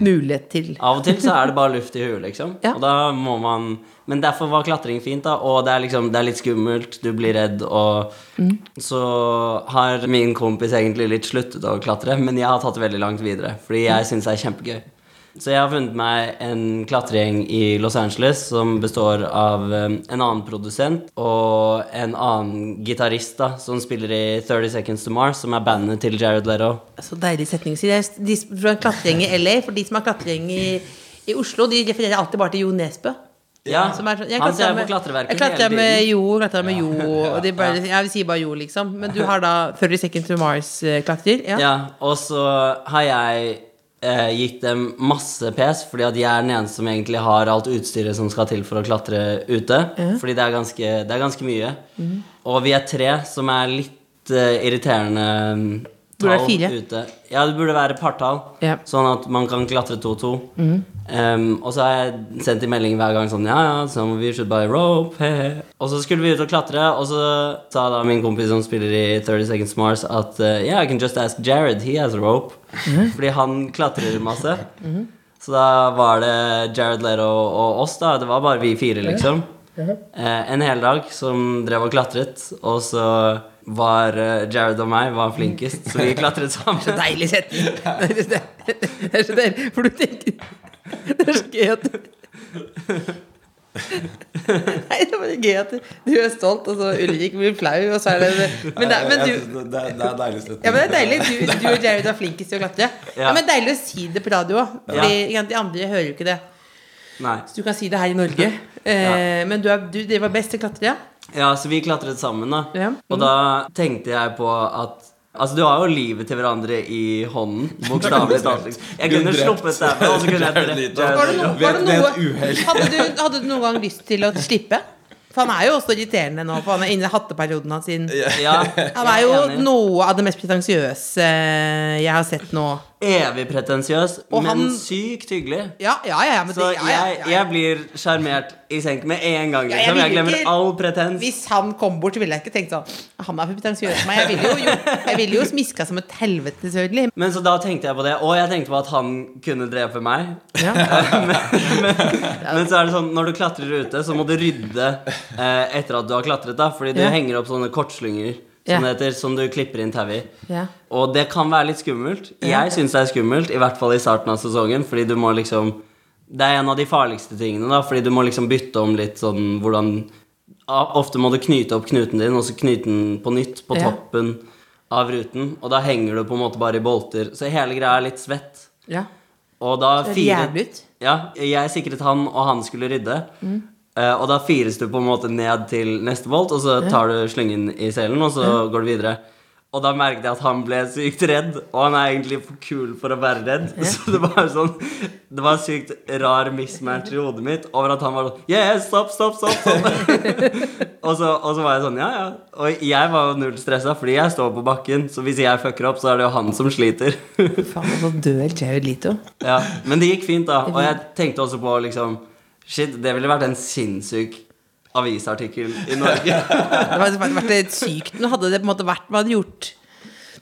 S6: mulighet til.
S3: Av og til så er det bare luft i huet, liksom.
S6: Ja.
S3: Og da må man Men derfor var klatring fint, da. Og det er liksom Det er litt skummelt, du blir redd, og
S6: Mm.
S3: Så har min kompis egentlig litt sluttet å klatre, men jeg har tatt det veldig langt videre. Fordi
S6: Mm.
S3: jeg syns det er kjempegøy. Så jeg har funnet meg en klatregjeng i Los Angeles som består av eh, en annen produsent og en annen gitarist da, som spiller i 30 Seconds to Mars, som er bandet til Jared Leto.
S6: Så deilig setning å si. Det er De som har klatregjeng i LA, for de som har klatregjeng i, i Oslo, de refererer alltid bare til Jo Nesbø.
S3: Ja,
S6: Som er sånn, jeg
S3: han ser på
S6: klatrer med,
S3: klatreverket
S6: jeg klatrer
S3: hele
S6: med
S3: tiden.
S6: Jo, klatrer med Jo
S3: [LAUGHS]
S6: og de bare, Jeg vil si bare Jo, eh, liksom. Men du har da 30 Seconds to Mars-klatrer. Ja.
S3: Ja, og så har jeg eh, gitt dem masse pes, fordi at jeg er den eneste som egentlig har alt utstyret som skal til for å klatre ute. Fordi det er ganske, det er ganske mye.
S6: Mhm.
S3: Og vi er tre, som er litt eh, irriterende mm,
S6: Burde
S3: tall
S6: være fire.
S3: ute. Ja, det burde være partall,
S6: Ja.
S3: sånn at man kan klatre 2-2. Em, og så har jeg sendt en melding hver gang sånn Ja, ja, some of you should buy rope. hehe». Og så skulle vi ut og klatre, og så sa da min kompis som spiller i 30 Seconds Mars, at eh, Yeah, I can just ask Jared. He has a rope. Fordi han klatrer masse. Så da var det Jared Leto og oss, da. Det var bare vi fire, liksom. Eh, en hel dag som drev og klatret, og så var eh, Jared og meg var flinkest, så vi klatret sammen.
S6: [LAUGHS]
S3: [LAUGHS]
S6: Deilig setning! Det er det er så deilig, for du tenker Det er så gøy at [LAUGHS] Nei, det er bare gøy at du er stolt, og så Ulrik blir flau, og så er det Men, det, men
S4: Jeg
S6: du
S4: synes det, det, er- det er deilig slutt.
S6: Ja, men det er deilig. Du, du og Jared er flinkest til å klatre. Ja.
S3: Ja.
S6: men Deilig å si det på radio òg.
S3: Ja.
S6: De andre hører jo ikke det.
S3: Nei.
S6: Så du kan si det her i Norge. Eh, Men du, er, du det var best til å klatre, ja?
S3: Ja, så vi klatret sammen, da.
S6: Ja.
S3: Og da tenkte jeg på at Altså, du har jo livet til hverandre i hånden, bokstavelig talt. liksom. Jeg kunne
S4: Drept.
S3: sluppet deg, og så kunne jeg
S4: Jared
S3: drept
S4: Leto.
S3: Jared
S6: Var det,
S3: Leto.
S6: no, var
S4: Ved- ved
S6: det noe
S4: et uhell.
S6: hadde du, hadde du noen gang lyst til å slippe? For han er jo også irriterende nå, for han er inne i hatteperioden hans. sin.
S3: Ja,
S6: Han er jo
S3: enig.
S6: noe av det mest pretensiøse jeg har sett nå.
S3: Evig pretensiøs,
S6: Og
S3: men
S6: han-
S3: sykt hyggelig.
S6: Ja, ja, ja. ja, Men
S3: Så
S6: det, ja, ja,
S3: jeg,
S6: ja,
S3: jeg blir sjarmert i senk med en gang.
S6: Ja, jeg
S3: Liksom. Jeg
S6: vil
S3: glemmer
S6: ikke-
S3: all
S6: ja.
S3: pretens.
S6: Hvis han kom bort, så ville jeg ikke tenkt sånn Han er for pretensiøs for meg. Jeg ville jo, jo, jeg ville jo smiska som et helvete, selvfølgelig.
S3: [LAUGHS] Men så da tenkte jeg på det, og jeg tenkte på at han kunne drepe meg.
S6: Ja.
S3: men, men, men så er det sånn, når du klatrer ute, så må du rydde eh, etter at du har klatret. da Fordi du
S6: Ja.
S3: henger opp sånne kortslynger
S6: Ja.
S3: som, det heter, som du klipper inn tau i.
S6: Ja.
S3: Og det kan være litt skummelt. Jeg syns det er skummelt, i hvert fall i starten av sesongen. Fordi du må liksom Det er en av de farligste tingene, da fordi du må liksom bytte om litt sånn hvordan Ah, Ofte må du knyte opp knuten din, og så knyte den på nytt på
S6: Ja.
S3: toppen av ruten. Og da henger du på en måte bare i bolter. Så hele greia er litt svett.
S6: Ja.
S3: Og da
S6: Det er jævlig ut. Mm.
S3: firet Ja, jeg sikret han, og han skulle rydde. Eh, og da fires du på en måte ned til neste bolt, og så tar du slyngen i selen, og så går du videre. Og da merket jeg at han ble sykt redd, og han er egentlig for kul for å være redd. [LAUGHS] Så det var sånn Det var en sykt rar mismatch i hodet mitt over at han var sånn Yeah, stopp, stopp, stopp. stopp. [LAUGHS] og, så, og så var jeg sånn, ja, ja. Og jeg var jo null stressa, fordi jeg står på bakken. Så hvis jeg fucker opp, så er det jo han som sliter. [LAUGHS]
S6: Faen, altså, nå dør Jared Lito.
S3: Ja, men det gikk fint, da. Og
S6: [LAUGHS]
S3: jeg tenkte også på liksom Shit, det ville vært en sinnssyk avisartikkel i
S6: [LAUGHS]
S3: Norge.
S6: Det hadde vært- vært litt sykt. Nå hadde det på en måte vært Hva hadde du gjort?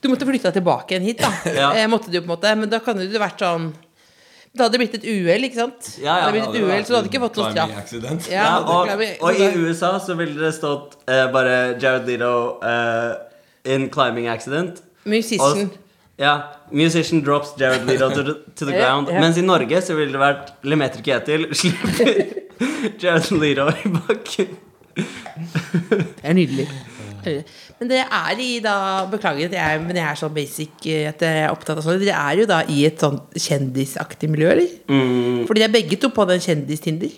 S6: Du måtte flytta tilbake igjen hit, da.
S3: Ja.
S6: Eh, måtte du på en måte Men da kan det jo vært sånn Det hadde blitt et uhell, ikke sant?
S3: Ja, ja,
S6: det hadde blitt et uhell, Så du hadde ikke fått noe straff.
S4: straff.
S6: Ja,
S3: Ja, og,
S6: det klarer vi.
S3: og i USA så ville det stått eh, bare Jared Leto eh, in climbing accident. Og,
S6: Musician.
S3: ja, Musician drops Jared Leto to the, to the
S6: [LAUGHS] Ja,
S3: ground.
S6: ja.
S3: Mens i Norge så ville det vært Lemeter Ketil [LAUGHS] slipper Jared Leto i bakken.
S6: Det er nydelig. Men det er i da Beklager at jeg, men jeg er så basic eh, at jeg er opptatt av sånt. Dere er jo da i et sånn kjendisaktig miljø, eller?
S3: Mm.
S6: Fordi de er begge to på den kjendistinder.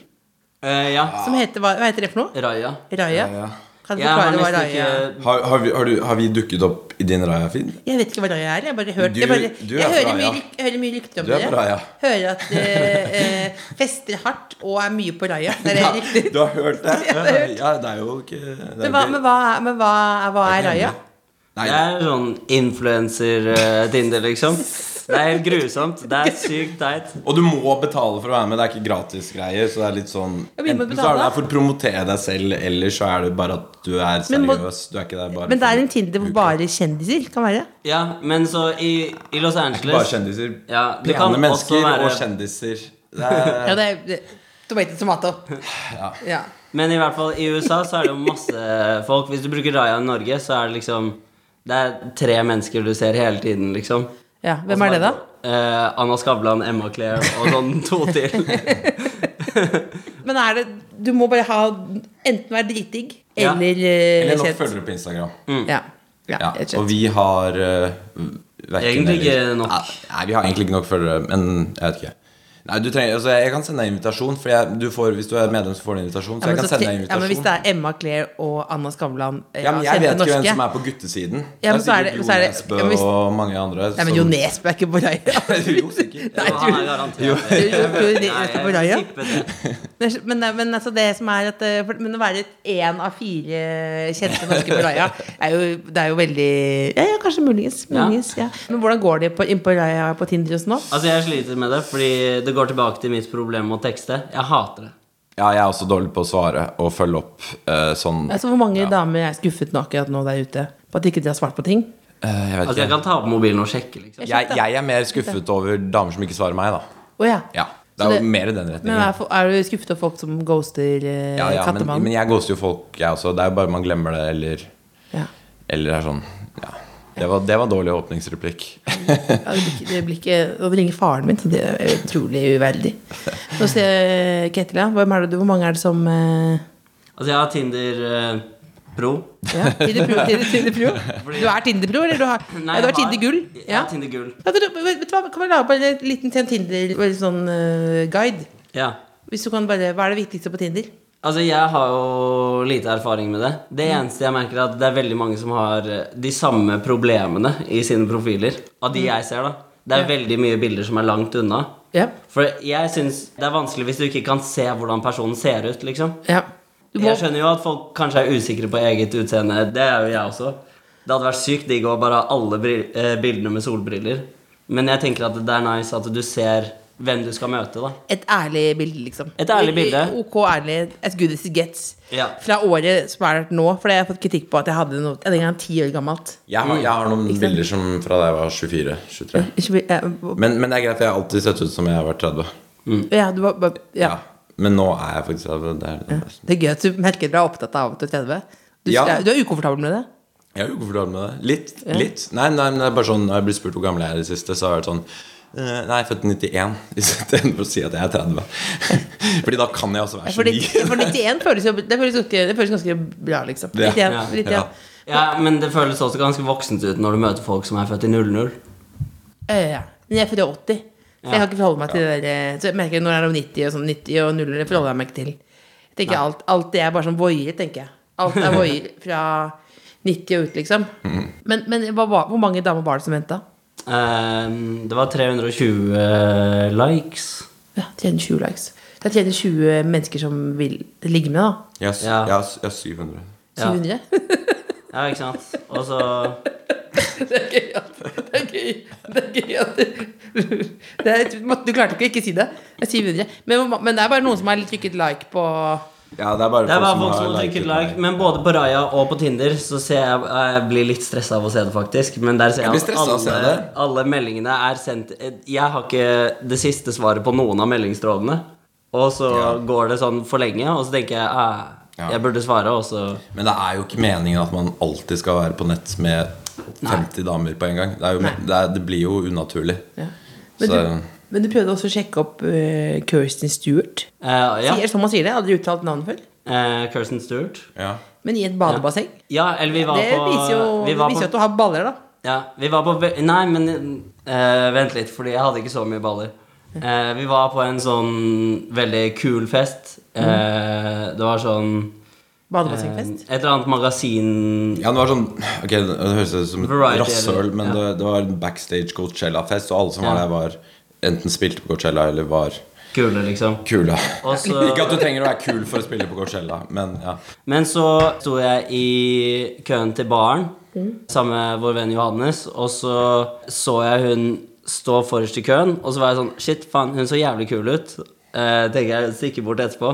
S3: Eh, ja.
S6: Som heter hva, hva heter det for noe?
S3: Raja.
S6: Raja?
S4: Ja, ja.
S6: Kan du
S3: Jeg har
S6: forklare hva
S3: nesten
S6: Raja er?
S3: ikke
S4: Har, har, vi, har, du, har vi dukket opp i din Raja-feed?
S6: Jeg vet ikke hva Raja er. Jeg bare hørt,
S4: Du-
S6: jeg bare,
S4: du er
S6: jeg
S4: fra
S6: hører,
S4: Raja.
S6: mye, ryk- jeg hører mye rykter om
S4: Du er
S6: dere.
S4: fra Raja.
S6: Hører at eh, eh, fester hardt og er mye på Raja. Det er riktig.
S4: Du har hørt det?
S6: Ja, [LAUGHS] jeg har hørt.
S4: Ja, det er jo ikke det er
S6: Men hva,
S4: ikke-
S6: men hva, er- men hva, er- hva er Raja?
S4: Nei,
S3: Det er sånn influenser-Tinder, liksom. Det er helt grusomt. Det er sykt teit.
S4: Og du må betale for å være med. Det er ikke gratisgreier. Så det er litt sånn
S6: Ja, men du må
S4: Enten så er du
S6: betale.
S4: der for å promotere deg selv, eller så er det bare at du er
S6: Men må-
S4: seriøs. Du er ikke der bare
S6: Men det er
S4: for-
S6: en Tinder hvor bare kjendiser kan være.
S3: Ja, men så i, i Los Angeles
S4: Bare kjendiser.
S3: Ja, det kan
S4: Pene mennesker
S3: også være-
S4: og kjendiser.
S6: [LAUGHS]
S4: Det er,
S6: Ja, det er det- Tomato, tomato. Ja.
S3: Men i hvert fall i USA så er det jo masse folk. Hvis du bruker Raya i Norge, så er det liksom Det er tre mennesker du ser hele tiden, liksom.
S6: ja. Hvem er det, da?
S3: Eh, Anna Skavlan, Emma Claire og sånn [LAUGHS] to til.
S6: Men er det Du må bare ha enten være dritdigg
S3: Ja.
S6: eller eh,
S4: eller nok
S6: kjent.
S4: følgere på Instagram.
S6: Mm. Ja. Ja,
S4: Ja,
S6: helt
S4: og
S6: kjent.
S4: vi har eh, verken
S3: Egentlig ikke
S4: eller-
S3: nok.
S4: Nei, vi har egentlig ikke nok følgere, men jeg vet ikke. Nei, du trenger, altså Jeg kan sende deg invitasjon. For jeg, du får, hvis du er medlem, så får du invitasjon. Så
S6: men
S4: jeg kan
S6: så
S4: sende
S6: te-
S4: deg
S6: ja, men hvis
S4: invitasjon.
S6: det er Emma Claire og Anna Skavlan eh,
S4: Ja, men
S6: av
S4: jeg
S6: kjente
S4: vet ikke hvem
S6: norske-
S4: som er på guttesiden.
S6: Ja, men
S4: det
S6: så er
S4: er
S6: det-
S4: sikkert
S6: så
S4: Jo
S6: er det- ja,
S4: Nesbø
S6: men hvis-
S4: og mange andre.
S6: Nei, men
S4: som-
S6: Jo Nesbø er ikke på
S4: [LAUGHS]
S6: Raja.
S4: Jo, sikkert.
S6: Nei,
S3: Han er garantert
S6: [LAUGHS] Jo, jo, jo, det- vet du på Raja?
S3: Jeg tippet det.
S6: Men, men altså det som er at eh, for- Men å være én av fire kjente norske på Raja er jo, Det er jo veldig Ja, ja kanskje muligens.
S3: Ja.
S6: muligens ja. Men hvordan går det på, inn på Raja på Tinder og sånn nå?
S3: Altså, jeg sliter med det, fordi det går tilbake til mitt problem med å tekste. Jeg hater det.
S4: Ja, jeg er også dårlig på å svare og følge opp eh, sånn
S6: Altså, hvor mange damer er skuffet nå akkurat nå der ute på at ikke de har svart på ting?
S4: eh, Jeg vet
S3: Altså, jeg
S4: ikke.
S3: kan ta opp mobilen og sjekke, liksom.
S4: Jeg, jeg er mer skuffet over damer som ikke svarer meg, da.
S6: Å ja.
S4: Ja, Det
S6: Så
S4: er
S6: det-
S4: jo mer i den
S6: Men
S4: retningen.
S6: er, fo- er du skuffet over folk som ghoster eh,
S4: Ja, ja, men,
S6: kattemannen?
S4: men jeg ghoster jo folk, jeg også. Det er jo bare man glemmer det, eller,
S6: ja.
S4: eller er sånn Ja. Det var, det var dårlig åpningsreplikk.
S6: Ja, det blir ikke- det blir ikke Nå ringer faren min, så det er utrolig uverdig. Nå ser jeg Ketil, ja. Hvem er det, du- hvor mange er det som eh,
S3: Altså, jeg har Tinder eh, Pro.
S6: ja. Tinderpro? Tinder, Tinderpro? Du er Tinderpro, eller du har,
S3: Nei,
S6: ja, du har
S3: jeg har-
S6: Tindergull?
S3: Jeg
S6: Ja.
S3: har Tinder Gull.
S6: Ja, du, du- vet du hva, kan vi lage bare en liten sånn Tinder eller sånn eh, guide?
S3: Ja.
S6: Hvis du kan bare, Hva er det viktigste på Tinder?
S3: Altså, jeg har jo lite erfaring med det. Det
S6: Mm.
S3: eneste jeg merker, er at det er veldig mange som har eh, de samme problemene i sine profiler. Av de jeg ser, da. Det er veldig mye bilder som er langt unna.
S6: Mm. Ja.
S3: For jeg syns det er vanskelig hvis du ikke kan se hvordan personen ser ut, liksom.
S6: ja. Du må,
S3: Jeg skjønner jo at folk kanskje er usikre på eget utseende. Det er jo jeg også. Det hadde vært sykt digg å bare ha alle bril- eh, bildene med solbriller. Men jeg tenker at det er nice at du ser hvem du skal møte, da.
S6: et ærlig bilde, liksom.
S3: Et ærlig bilde.
S6: Ok ærlig. As good as it gets.
S3: Ja.
S6: Fra året som er nå, for jeg har fått kritikk på at jeg hadde noe den gangen ti år gammelt.
S4: Jeg har, jeg har noen
S6: Ikke sant?
S4: bilder som fra da jeg var 24-23.
S6: Ikke- eh,
S4: Men, men det er greit, jeg har alltid sett ut som jeg har vært 30.
S6: Ja, du var bare ja.
S4: Ja. Men nå er jeg faktisk 30. Det er det beste.
S6: Det er gøy at du merker at du er opptatt av at du er 30. Du,
S4: Ja.
S6: du er ukomfortabel med det?
S4: Jeg er ukomfortabel med det. Litt. litt Nei, nei, men det er bare sånn Når jeg blir spurt hvor gammel jeg er i det siste, så har jeg vært sånn eh, Nei, født [LAUGHS] 91, istedenfor å si at jeg er 30. [LAUGHS] Fordi da kan jeg også være
S6: For,
S4: 29.
S6: for 91 føles jo det føles, ganske, det føles ganske bra, liksom.
S4: Ja.
S6: 91, ja.
S3: Ja.
S6: 91.
S4: Ja.
S3: Ja, Men det føles også ganske voksent ut når du møter folk som er født i 00.
S6: Ja, ja. Men jeg er fra 80, så jeg
S3: Ja.
S6: kan ikke forholde meg til det der. eh, Så jeg merker jeg når det er om 90 og sånn 90 og 0, det forholder jeg meg ikke til. Jeg tenker alt, alt det er bare sånn voier, tenker jeg. Alt er voier
S4: [LAUGHS]
S6: fra 90 og ut, liksom.
S4: Mhm.
S6: Men, men hva, var- hvor mange damer var det som venta?
S3: Ehm, det var 320 likes.
S6: Ja, 320 likes. Det er 320 mennesker som vil ligge med, da.
S4: Jeg har s-
S3: Ja.
S4: jeg har s- jeg har 700.
S3: Ja.
S6: 700?
S3: Ja, ikke sant? Og så
S6: Det er gøy at Det er gøy, det er gøy at det er, Du klarte ikke å ikke si det. Det er 700. Men, hvor ma- men det er bare noen som har trykket like på
S4: Ja, det er bare
S3: Det er bare folk
S4: har
S3: som har trykket
S4: liket
S3: like.
S4: meg.
S3: Men både på Raja og på Tinder så ser jeg Jeg blir litt stressa av å se det, faktisk. Men der ser
S4: Jeg blir
S3: jeg at
S4: stresset av å se
S3: alle,
S4: det.
S3: alle meldingene er sendt Jeg har ikke det siste svaret på noen av meldingstrådene. Og så
S4: Ja.
S3: går det sånn for lenge, og så tenker jeg eh,
S4: Ja.
S3: jeg burde svare, og så
S4: Men det er jo ikke meningen at man alltid skal være på nett med 50 damer på en gang. Det, er jo,
S6: Nei.
S4: det, er, det blir jo unaturlig.
S6: ja.
S4: Så
S6: men, du, men du prøvde også å sjekke opp eh, Kirsten Stewart.
S3: eh, Ja.
S6: Sier som man sier det. Aldri uttalt navnet før.
S3: Eh, Kirsten Stewart.
S4: ja.
S6: Men i et badebasseng.
S3: Ja, eller vi var
S6: Det
S3: på
S6: viser jo,
S3: vi var
S6: det viser
S3: på-
S6: jo at du har baller, da.
S3: Ja, vi var på ve- Nei, men eh, vent litt, fordi jeg hadde ikke så mye baller. Eh, vi var på en sånn veldig kul fest. Eh, det var sånn eh,
S6: Badebassengfest.
S3: Et eller annet magasin
S4: Ja, det var sånn Ok, det høres ut som et
S3: Variety, eller-
S4: rasshøl, men
S3: ja.
S4: det, det var en backstage Coachella-fest, og alle som
S3: Ja.
S4: var der, var enten spilte på Coachella eller var
S3: kule, liksom.
S4: kula.
S3: Og så,
S4: [LAUGHS] Ikke at du trenger å være kul for å spille på Coachella, men ja.
S3: men så sto jeg i køen til baren sammen med vår venn Johannes, og så så jeg hun stå forrest i køen, og så var jeg sånn Shit, faen, hun så jævlig kul ut. Eh, tenker jeg stikker bort etterpå.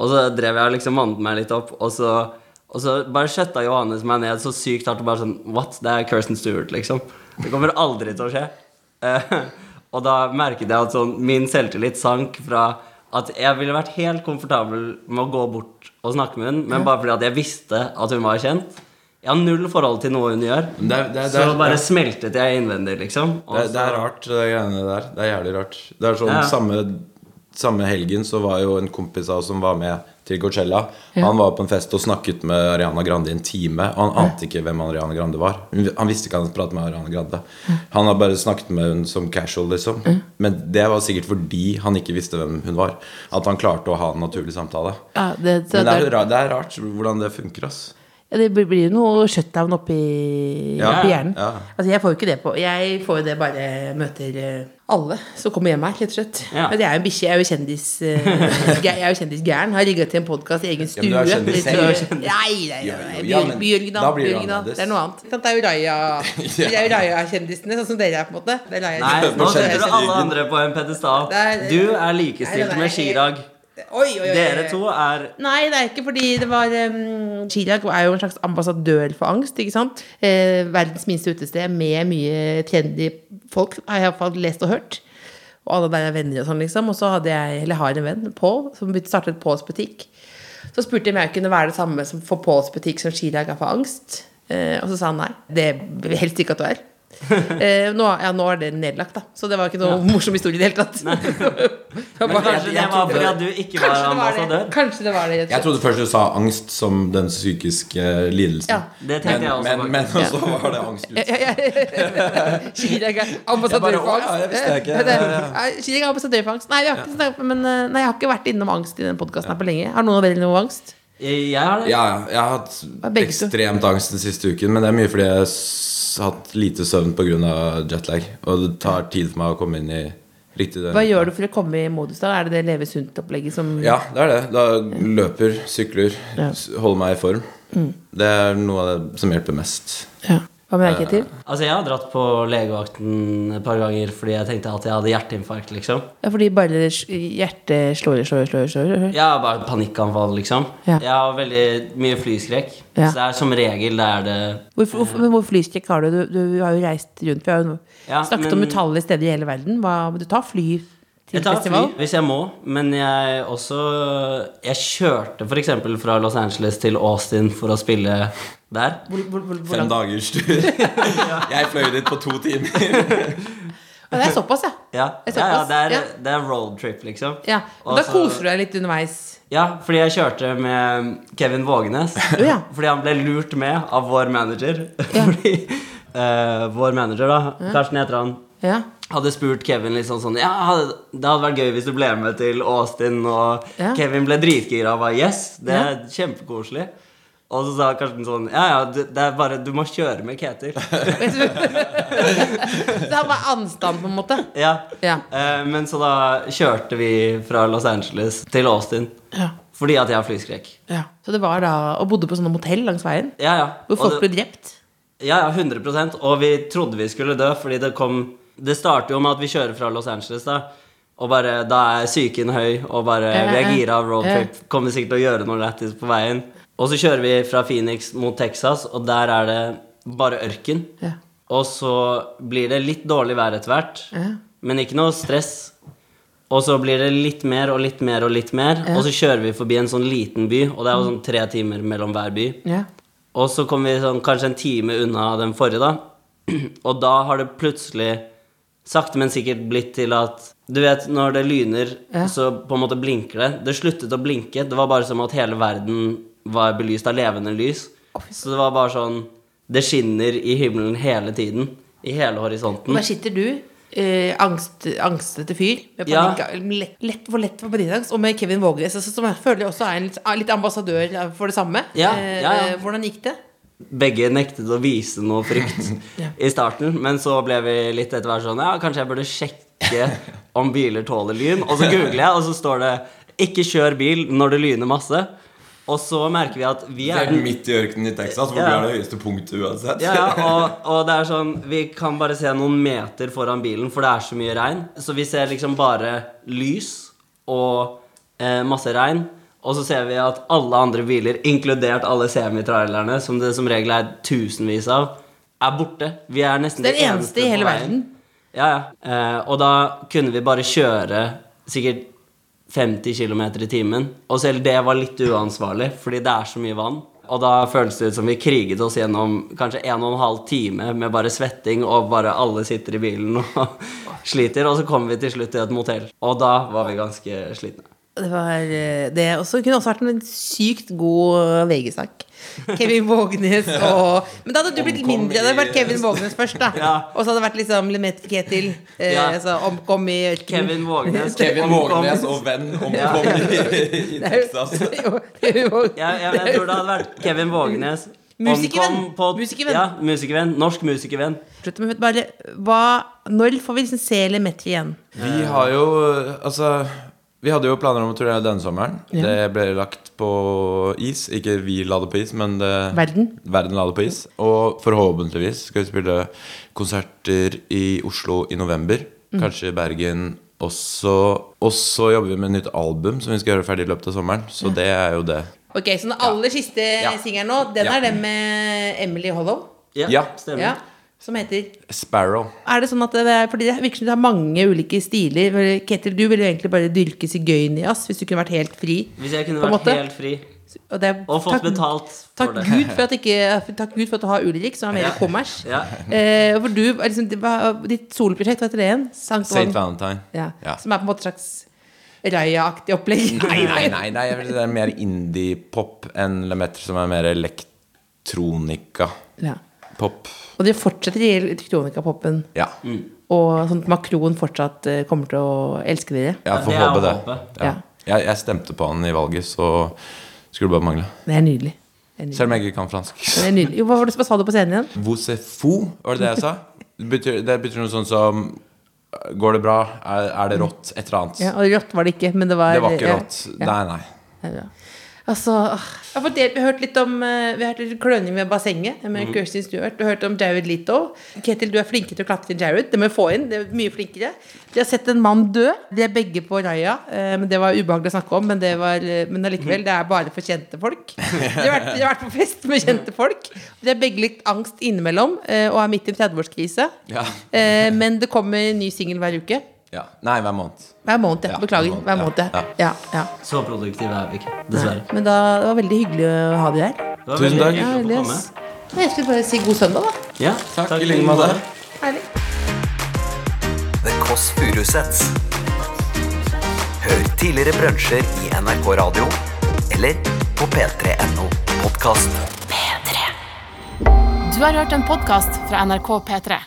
S3: Og så drev jeg og liksom mannet meg litt opp, og så, og så bare skjøtta Johannes meg ned så sykt hardt og bare sånn What? Det er Kirsten Stewart, liksom. Det kommer aldri til å skje. Eh, [LAUGHS] og da merket jeg at sånn, min selvtillit sank fra at jeg ville vært helt komfortabel med å gå bort og snakke med henne, men bare fordi at jeg visste at hun var kjent. Jeg har null forhold til noe hun gjør.
S4: Men Det, er- det, er- det,
S3: Så
S4: er-
S3: bare smeltet jeg innvendig, liksom. Og
S4: det, er-
S3: så-
S4: det er rart, det greiene der. Det er jævlig rart. Det er sånn
S3: Ja.
S4: samme, samme helgen så var jo en kompis av oss som var med til Coachella. Han var på en fest og snakket med Ariana Grande i en time. Og han ante ikke hvem Ariana Grande var. Han visste ikke han pratet med Ariana Grande. Han har bare snakket med hun som casual, liksom. Men det var sikkert fordi han ikke visste hvem hun var. At han klarte å ha en naturlig samtale.
S6: Ja, det, så
S4: Men det er, jo
S6: det,
S4: ra- det er rart hvordan det funker, ass.
S6: ja, det blir- blir jo noe shutdown oppi,
S4: Ja,
S6: oppi hjernen.
S4: ja.
S6: Altså, jeg får jo ikke det på Jeg får jo det bare jeg møter eh, alle som kommer hjem her, rett og slett.
S3: Ja.
S6: Altså, jeg er jo en bikkje, jeg er jo kjendis
S4: [LAUGHS]
S6: eh, gæ- Jeg er jo kjendisgæren. Har rigga til en podkast i egen
S4: Ja, men
S6: stue.
S4: du er kjendis
S6: Litt
S4: selv.
S6: så- Nei, nei,
S4: Jo,
S6: nei,
S4: jo, ja,
S6: Bjørg-
S4: men
S6: Bjørgen, da.
S4: da blir det
S6: Bjørgen, da.
S4: annerledes.
S6: Det er noe annet. Sant, Sånn Det er jo
S4: [LAUGHS]
S6: Raja Det er jo Raja-kjendisene, sånn som dere er, på en måte. Det er Raja-
S3: Nei,
S4: [LAUGHS]
S3: nå
S6: Raja-
S3: setter du alle
S6: kjendisene.
S3: andre på en pedestal.
S6: Nei, nei,
S3: Du er
S6: nei,
S3: likestilt
S6: nei,
S3: med Chirag.
S6: Oi, oi, oi, oi.
S3: Dere to er
S6: Nei, det er ikke fordi det var um, Chirag er jo en slags ambassadør for angst, ikke sant? Eh, verdens minste utested med mye trendy folk, har jeg iallfall lest og hørt. Og alle der er venner og sånn, liksom. Og så hadde jeg, eller har en venn, Pål, som begynte- startet Påls butikk. Så spurte jeg om jeg kunne være det samme som for Påls butikk som Chirag er for angst. Eh, og så sa han nei. Det vil jeg helst ikke at du
S3: [LAUGHS]
S6: er. Eh, nå, ja, nå er det nedlagt, da. Så det var ikke noe morsom historie i [LAUGHS] det hele tatt.
S3: Men kanskje det var fordi at du ikke var
S6: Kanskje det var det.
S3: ambassadør?
S6: Kanskje det var det. rett og
S4: Jeg trodde først du sa angst som den psykiske lidelsen.
S6: Ja.
S3: Det tenkte jeg også.
S4: men,
S3: faktisk.
S4: men så var det angst.
S6: slett. [LAUGHS] Ja, ja, ja. Chirag er ambassadør
S4: Jeg bare, «Å,
S6: for
S4: ja, det visste jeg
S6: angst.
S4: ikke».
S6: Ja, det er- Nei, Chirag er ambassadør for angst. Nei, vi har ikke, snakket- men, eh, nei, jeg har ikke vært innom angst i denne podkasten på lenge. Har noen av dere noe angst?
S3: Jeg har det.
S4: Ja, ja. Jeg har
S6: er
S4: hatt
S6: begge to.
S4: ekstremt angst den siste uken, men det er mye fordi jeg s- har hatt lite søvn pga. jetlag. Og det tar tid for meg å komme inn i riktig
S6: Hva gjør du for å komme i modus? da? Er det det leve sunt-opplegget som
S4: Ja, det er det. Da løper, sykler,
S6: Ja. Mm.
S4: s- holder meg i form. Det er noe av det som hjelper mest.
S6: Ja. Hva med deg, Ketil?
S3: Altså, jeg har dratt på legevakten et par ganger fordi jeg tenkte at jeg hadde hjerteinfarkt, liksom.
S6: Ja, fordi bare s- hjertet slår og slår og slår. og slår.
S3: Jeg har bare panikkanfall, liksom.
S6: Ja.
S3: Jeg har veldig mye flyskrekk.
S6: Ja.
S3: Så det er som regel det er det
S6: Hvorfor, hvorfor, men hvor flyskrekk har du? du? Du har jo reist rundt. Vi har jo
S3: Ja, men-
S6: snakket om utallige steder i hele verden. Hva, du tar fly til
S3: Jeg tar fly
S6: festival?
S3: hvis jeg må, men jeg også Jeg kjørte f.eks. fra Los Angeles til Austin for å spille der.
S6: Hvor, hvor, hvor, hvor
S4: Fem
S6: langt?
S4: dagers
S3: [LAUGHS]
S4: tur. [LAUGHS] Jeg fløy dit på to timer.
S6: Ja, Det er såpass, ja.
S3: Ja,
S6: Det er
S3: ja, ja
S6: såpass,
S3: det er,
S6: ja.
S3: det er roadtrip, liksom.
S6: Ja, og da
S3: Og så-
S6: koser du deg litt underveis.
S3: Ja, fordi jeg kjørte med Kevin Vågenes.
S6: Å, ja.
S3: [LAUGHS] Fordi han ble lurt med av vår manager. [LAUGHS] Fordi eh, vår manager, da, Karsten heter han,
S6: [LAUGHS] Ja.
S3: hadde spurt Kevin litt sånn sånn Ja, hadde, det hadde vært gøy hvis du ble med til Austin, og
S6: Ja.
S3: Kevin ble dritgira og bare Yes, det er
S6: Ja.
S3: kjempekoselig. Og så sa Karsten sånn Ja, ja, du, det er bare Du må kjøre med
S6: [LAUGHS]
S3: Ketil.
S6: Så han var anstand, på en måte.
S3: ja.
S6: Ja.
S3: Eh, men så da kjørte vi fra Los Angeles til Austin.
S6: Ja.
S3: Fordi at jeg har flyskrekk.
S6: Så det var da Og bodde på sånne motell langs veien?
S3: Ja, ja.
S6: Hvor
S3: Og det-
S6: folk ble drept?
S3: Ja, ja, 100 Og vi trodde vi skulle dø, fordi det kom Det starter jo med at vi kjører fra Los Angeles, da. Og bare, Da er psyken høy, og bare
S6: Ja, ja,
S3: vi er
S6: ja.
S3: gira av roadtrip.
S6: Ja.
S3: Kommer sikkert til å gjøre noe lættis på veien. Og så kjører vi fra Phoenix mot Texas, og der er det bare ørken.
S6: Ja.
S3: Og så blir det litt dårlig vær etter hvert,
S6: Ja.
S3: men ikke noe stress. Og så blir det litt mer og litt mer og litt mer, og så kjører vi forbi en sånn liten by, og det er jo sånn tre timer mellom hver by.
S6: Ja.
S3: Og så kom vi sånn, kanskje en time unna den forrige, da. [CLEARS THROAT] Og da har det plutselig, sakte, men sikkert, blitt til at Du vet, når det lyner,
S6: Ja.
S3: så på en måte blinker det. Det sluttet å blinke. Det var bare som at hele verden var belyst av levende lys. Så det var bare sånn Det skinner i himmelen hele tiden. I hele horisonten.
S6: Der sitter du, eh, angst, angstete fyr, med
S3: Ja.
S6: panikk, lett, lett for lett for panikkangst, og med Kevin Vågenes, altså, som jeg føler også er en litt, er litt ambassadør for det samme.
S3: Ja,
S6: Eh,
S3: ja, ja.
S6: eh, Hvordan gikk det?
S3: Begge nektet å vise noe frykt
S6: Ja.
S3: i starten, men så ble vi litt etter hvert sånn Ja, kanskje jeg burde sjekke om biler tåler lyn. Og så googler jeg, og så står det 'Ikke kjør bil når det lyner masse'. Og så merker vi at vi er
S4: Helt midt i ørkenen i Texas, hvor
S3: Ja.
S4: du har det høyeste punktet uansett.
S3: ja, ja, og, og det er sånn Vi kan bare se noen meter foran bilen, for det er så mye regn. Så vi ser liksom bare lys og eh, masse regn. Og så ser vi at alle andre biler, inkludert alle semitrailerne, som det som regel er tusenvis av, er borte. Vi er nesten
S6: Den
S3: de
S6: eneste i
S3: på
S6: hele
S3: veien.
S6: verden.
S3: Ja, ja. Eh, og da kunne vi bare kjøre sikkert 50 km i timen. Og selv det var litt uansvarlig, fordi det er så mye vann. Og da føles det ut som vi kriget oss gjennom kanskje en og en halv time med bare svetting, og bare alle sitter [LAUGHS] i bilen og sliter. Og så kom vi til slutt til et motell, og da var vi ganske slitne.
S6: Og det var eh, det også, kunne også vært en sykt god
S3: [LAUGHS]
S6: VG-sak. Kevin Vågnes og Men da hadde du blitt
S4: Omkom
S6: mindre. Det hadde
S4: i-
S6: vært Kevin Vågnes først, da.
S3: [LAUGHS] Ja.
S6: Og så hadde det vært liksom Lemet Ketil. Eh,
S3: Ja.
S6: altså, omkom i ørkenen. [LAUGHS]
S3: Kevin Vågenes.
S4: [LAUGHS] [LAUGHS] Kevin
S3: omkom.
S4: Vågenes og venn omkom i,
S3: [LAUGHS]
S4: i Texas.
S6: Jo, [LAUGHS] det er jo-
S3: altså. Ja, ja, men jeg tror det hadde vært Kevin Vågenes.
S6: Musikervenn.
S3: Omkom På,
S6: Musikervenn.
S3: Ja, musikervenn. Norsk musikervenn.
S6: Slutt med bare hva, Når får vi liksom se Lemet igjen?
S4: Vi har jo Altså vi hadde jo planer om å turnere denne sommeren.
S6: Ja.
S4: Det ble lagt på is. Ikke vi la det på is, men det,
S6: Verden.
S4: la det på is. Og forhåpentligvis skal vi spille konserter i Oslo i november.
S6: Mm.
S4: Kanskje i Bergen også. Og så jobber vi med et nytt album som vi skal gjøre ferdig i løpet av sommeren. Så det er jo det.
S6: Ok, Så den aller siste
S4: Ja.
S6: singelen nå, den
S4: Ja.
S6: er den med Emily Hollow.
S4: Ja.
S3: stemmer.
S6: Ja, som heter
S4: Sparrow.
S6: Er det sånn at det er, fordi det virker som du har mange ulike stiler. for Ketil, du ville jo egentlig bare dyrke sigøynerjazz hvis du kunne vært helt fri.
S3: Hvis jeg kunne
S6: På en
S3: vært
S6: måte.
S3: helt fri
S6: Og, det er-
S3: og fått betalt for
S6: Takk
S3: det. [LAUGHS]
S6: Gud for, at ikke, takk Gud for at du har Ulrik, som er mer kommers.
S3: Ja.
S6: Eh, for du, er liksom, det var- ditt soloprosjekt, hva heter det igjen? Sankt
S4: St.
S6: Van-
S4: Valentine.
S6: Ja,
S4: Ja.
S6: Som er på en måte et slags Raja-aktig
S3: [LAUGHS]
S6: opplegg.
S4: Nei, nei, nei, nei jeg vil si det er mer indie-pop enn Lemaitre, som er mer elektronika-pop.
S6: Ja. Og de fortsetter i elektronikapopen.
S4: Ja.
S6: Og sånn at Makron fortsatt eh, kommer til å elske dere.
S4: Jeg får
S3: Det er å
S4: håpe det.
S3: håpe.
S4: Ja.
S6: Ja.
S4: Jeg, jeg stemte på han i valget, så skulle det bare mangle.
S6: Det er nydelig. Det er nydelig.
S4: Selv om jeg ikke kan fransk.
S6: [LAUGHS] Det er nydelig. Jo, hva, var det, hva sa du på scenen igjen?
S4: Vosefou, var det det jeg sa? Det betyr, det betyr noe sånn som Går det bra? Er, er det rått? Et eller annet.
S6: Ja, og rått var det ikke, men det var
S4: Det var ikke
S6: ja,
S4: rått.
S6: ja,
S4: Nei, nei.
S6: det er bra. Altså, åh, jeg har fårt del- vi har hørt litt om eh, Vi har hørt litt kløning ved bassenget med
S4: Mm.
S6: Kirsten Stewart. Du har hørt om Jared Leto. Ketil, du er flinkere til å klatre enn Jared. Det må vi få inn. Det er mye flinkere. De har sett en mann dø. De er begge på raia. eh, men Det var ubehagelig å snakke om, men, det var, eh, men allikevel, det er bare for kjente
S4: [LAUGHS]
S6: folk. De har, vært, de har vært på fest med kjente folk. De har begge litt angst innimellom eh, og er midt i en 30-årskrise.
S4: Ja.
S6: Eh, men det kommer en ny singel hver uke.
S4: Ja. Nei, hver måned.
S6: Hver måned, ja.
S4: Ja,
S6: Beklager.
S4: hver
S6: Hver
S4: måned,
S6: måned. Ja.
S4: ja.
S6: Ja, ja.
S3: Så produktive er vi ikke, dessverre.
S6: Men da, det var veldig hyggelig å ha deg her.
S3: Det var
S4: Tusen
S3: veldig
S4: takk.
S3: hyggelig å få
S6: Ærlig,
S3: komme.
S6: ass. Nei, Jeg skulle bare si god søndag, da.
S3: Ja,
S4: Takk i like måte.
S6: Ærlig.
S2: The Kåss Furuseths. Hør tidligere brunsjer i NRK Radio eller på p3.no podkast.
S1: Du har hørt en podkast fra NRK P3.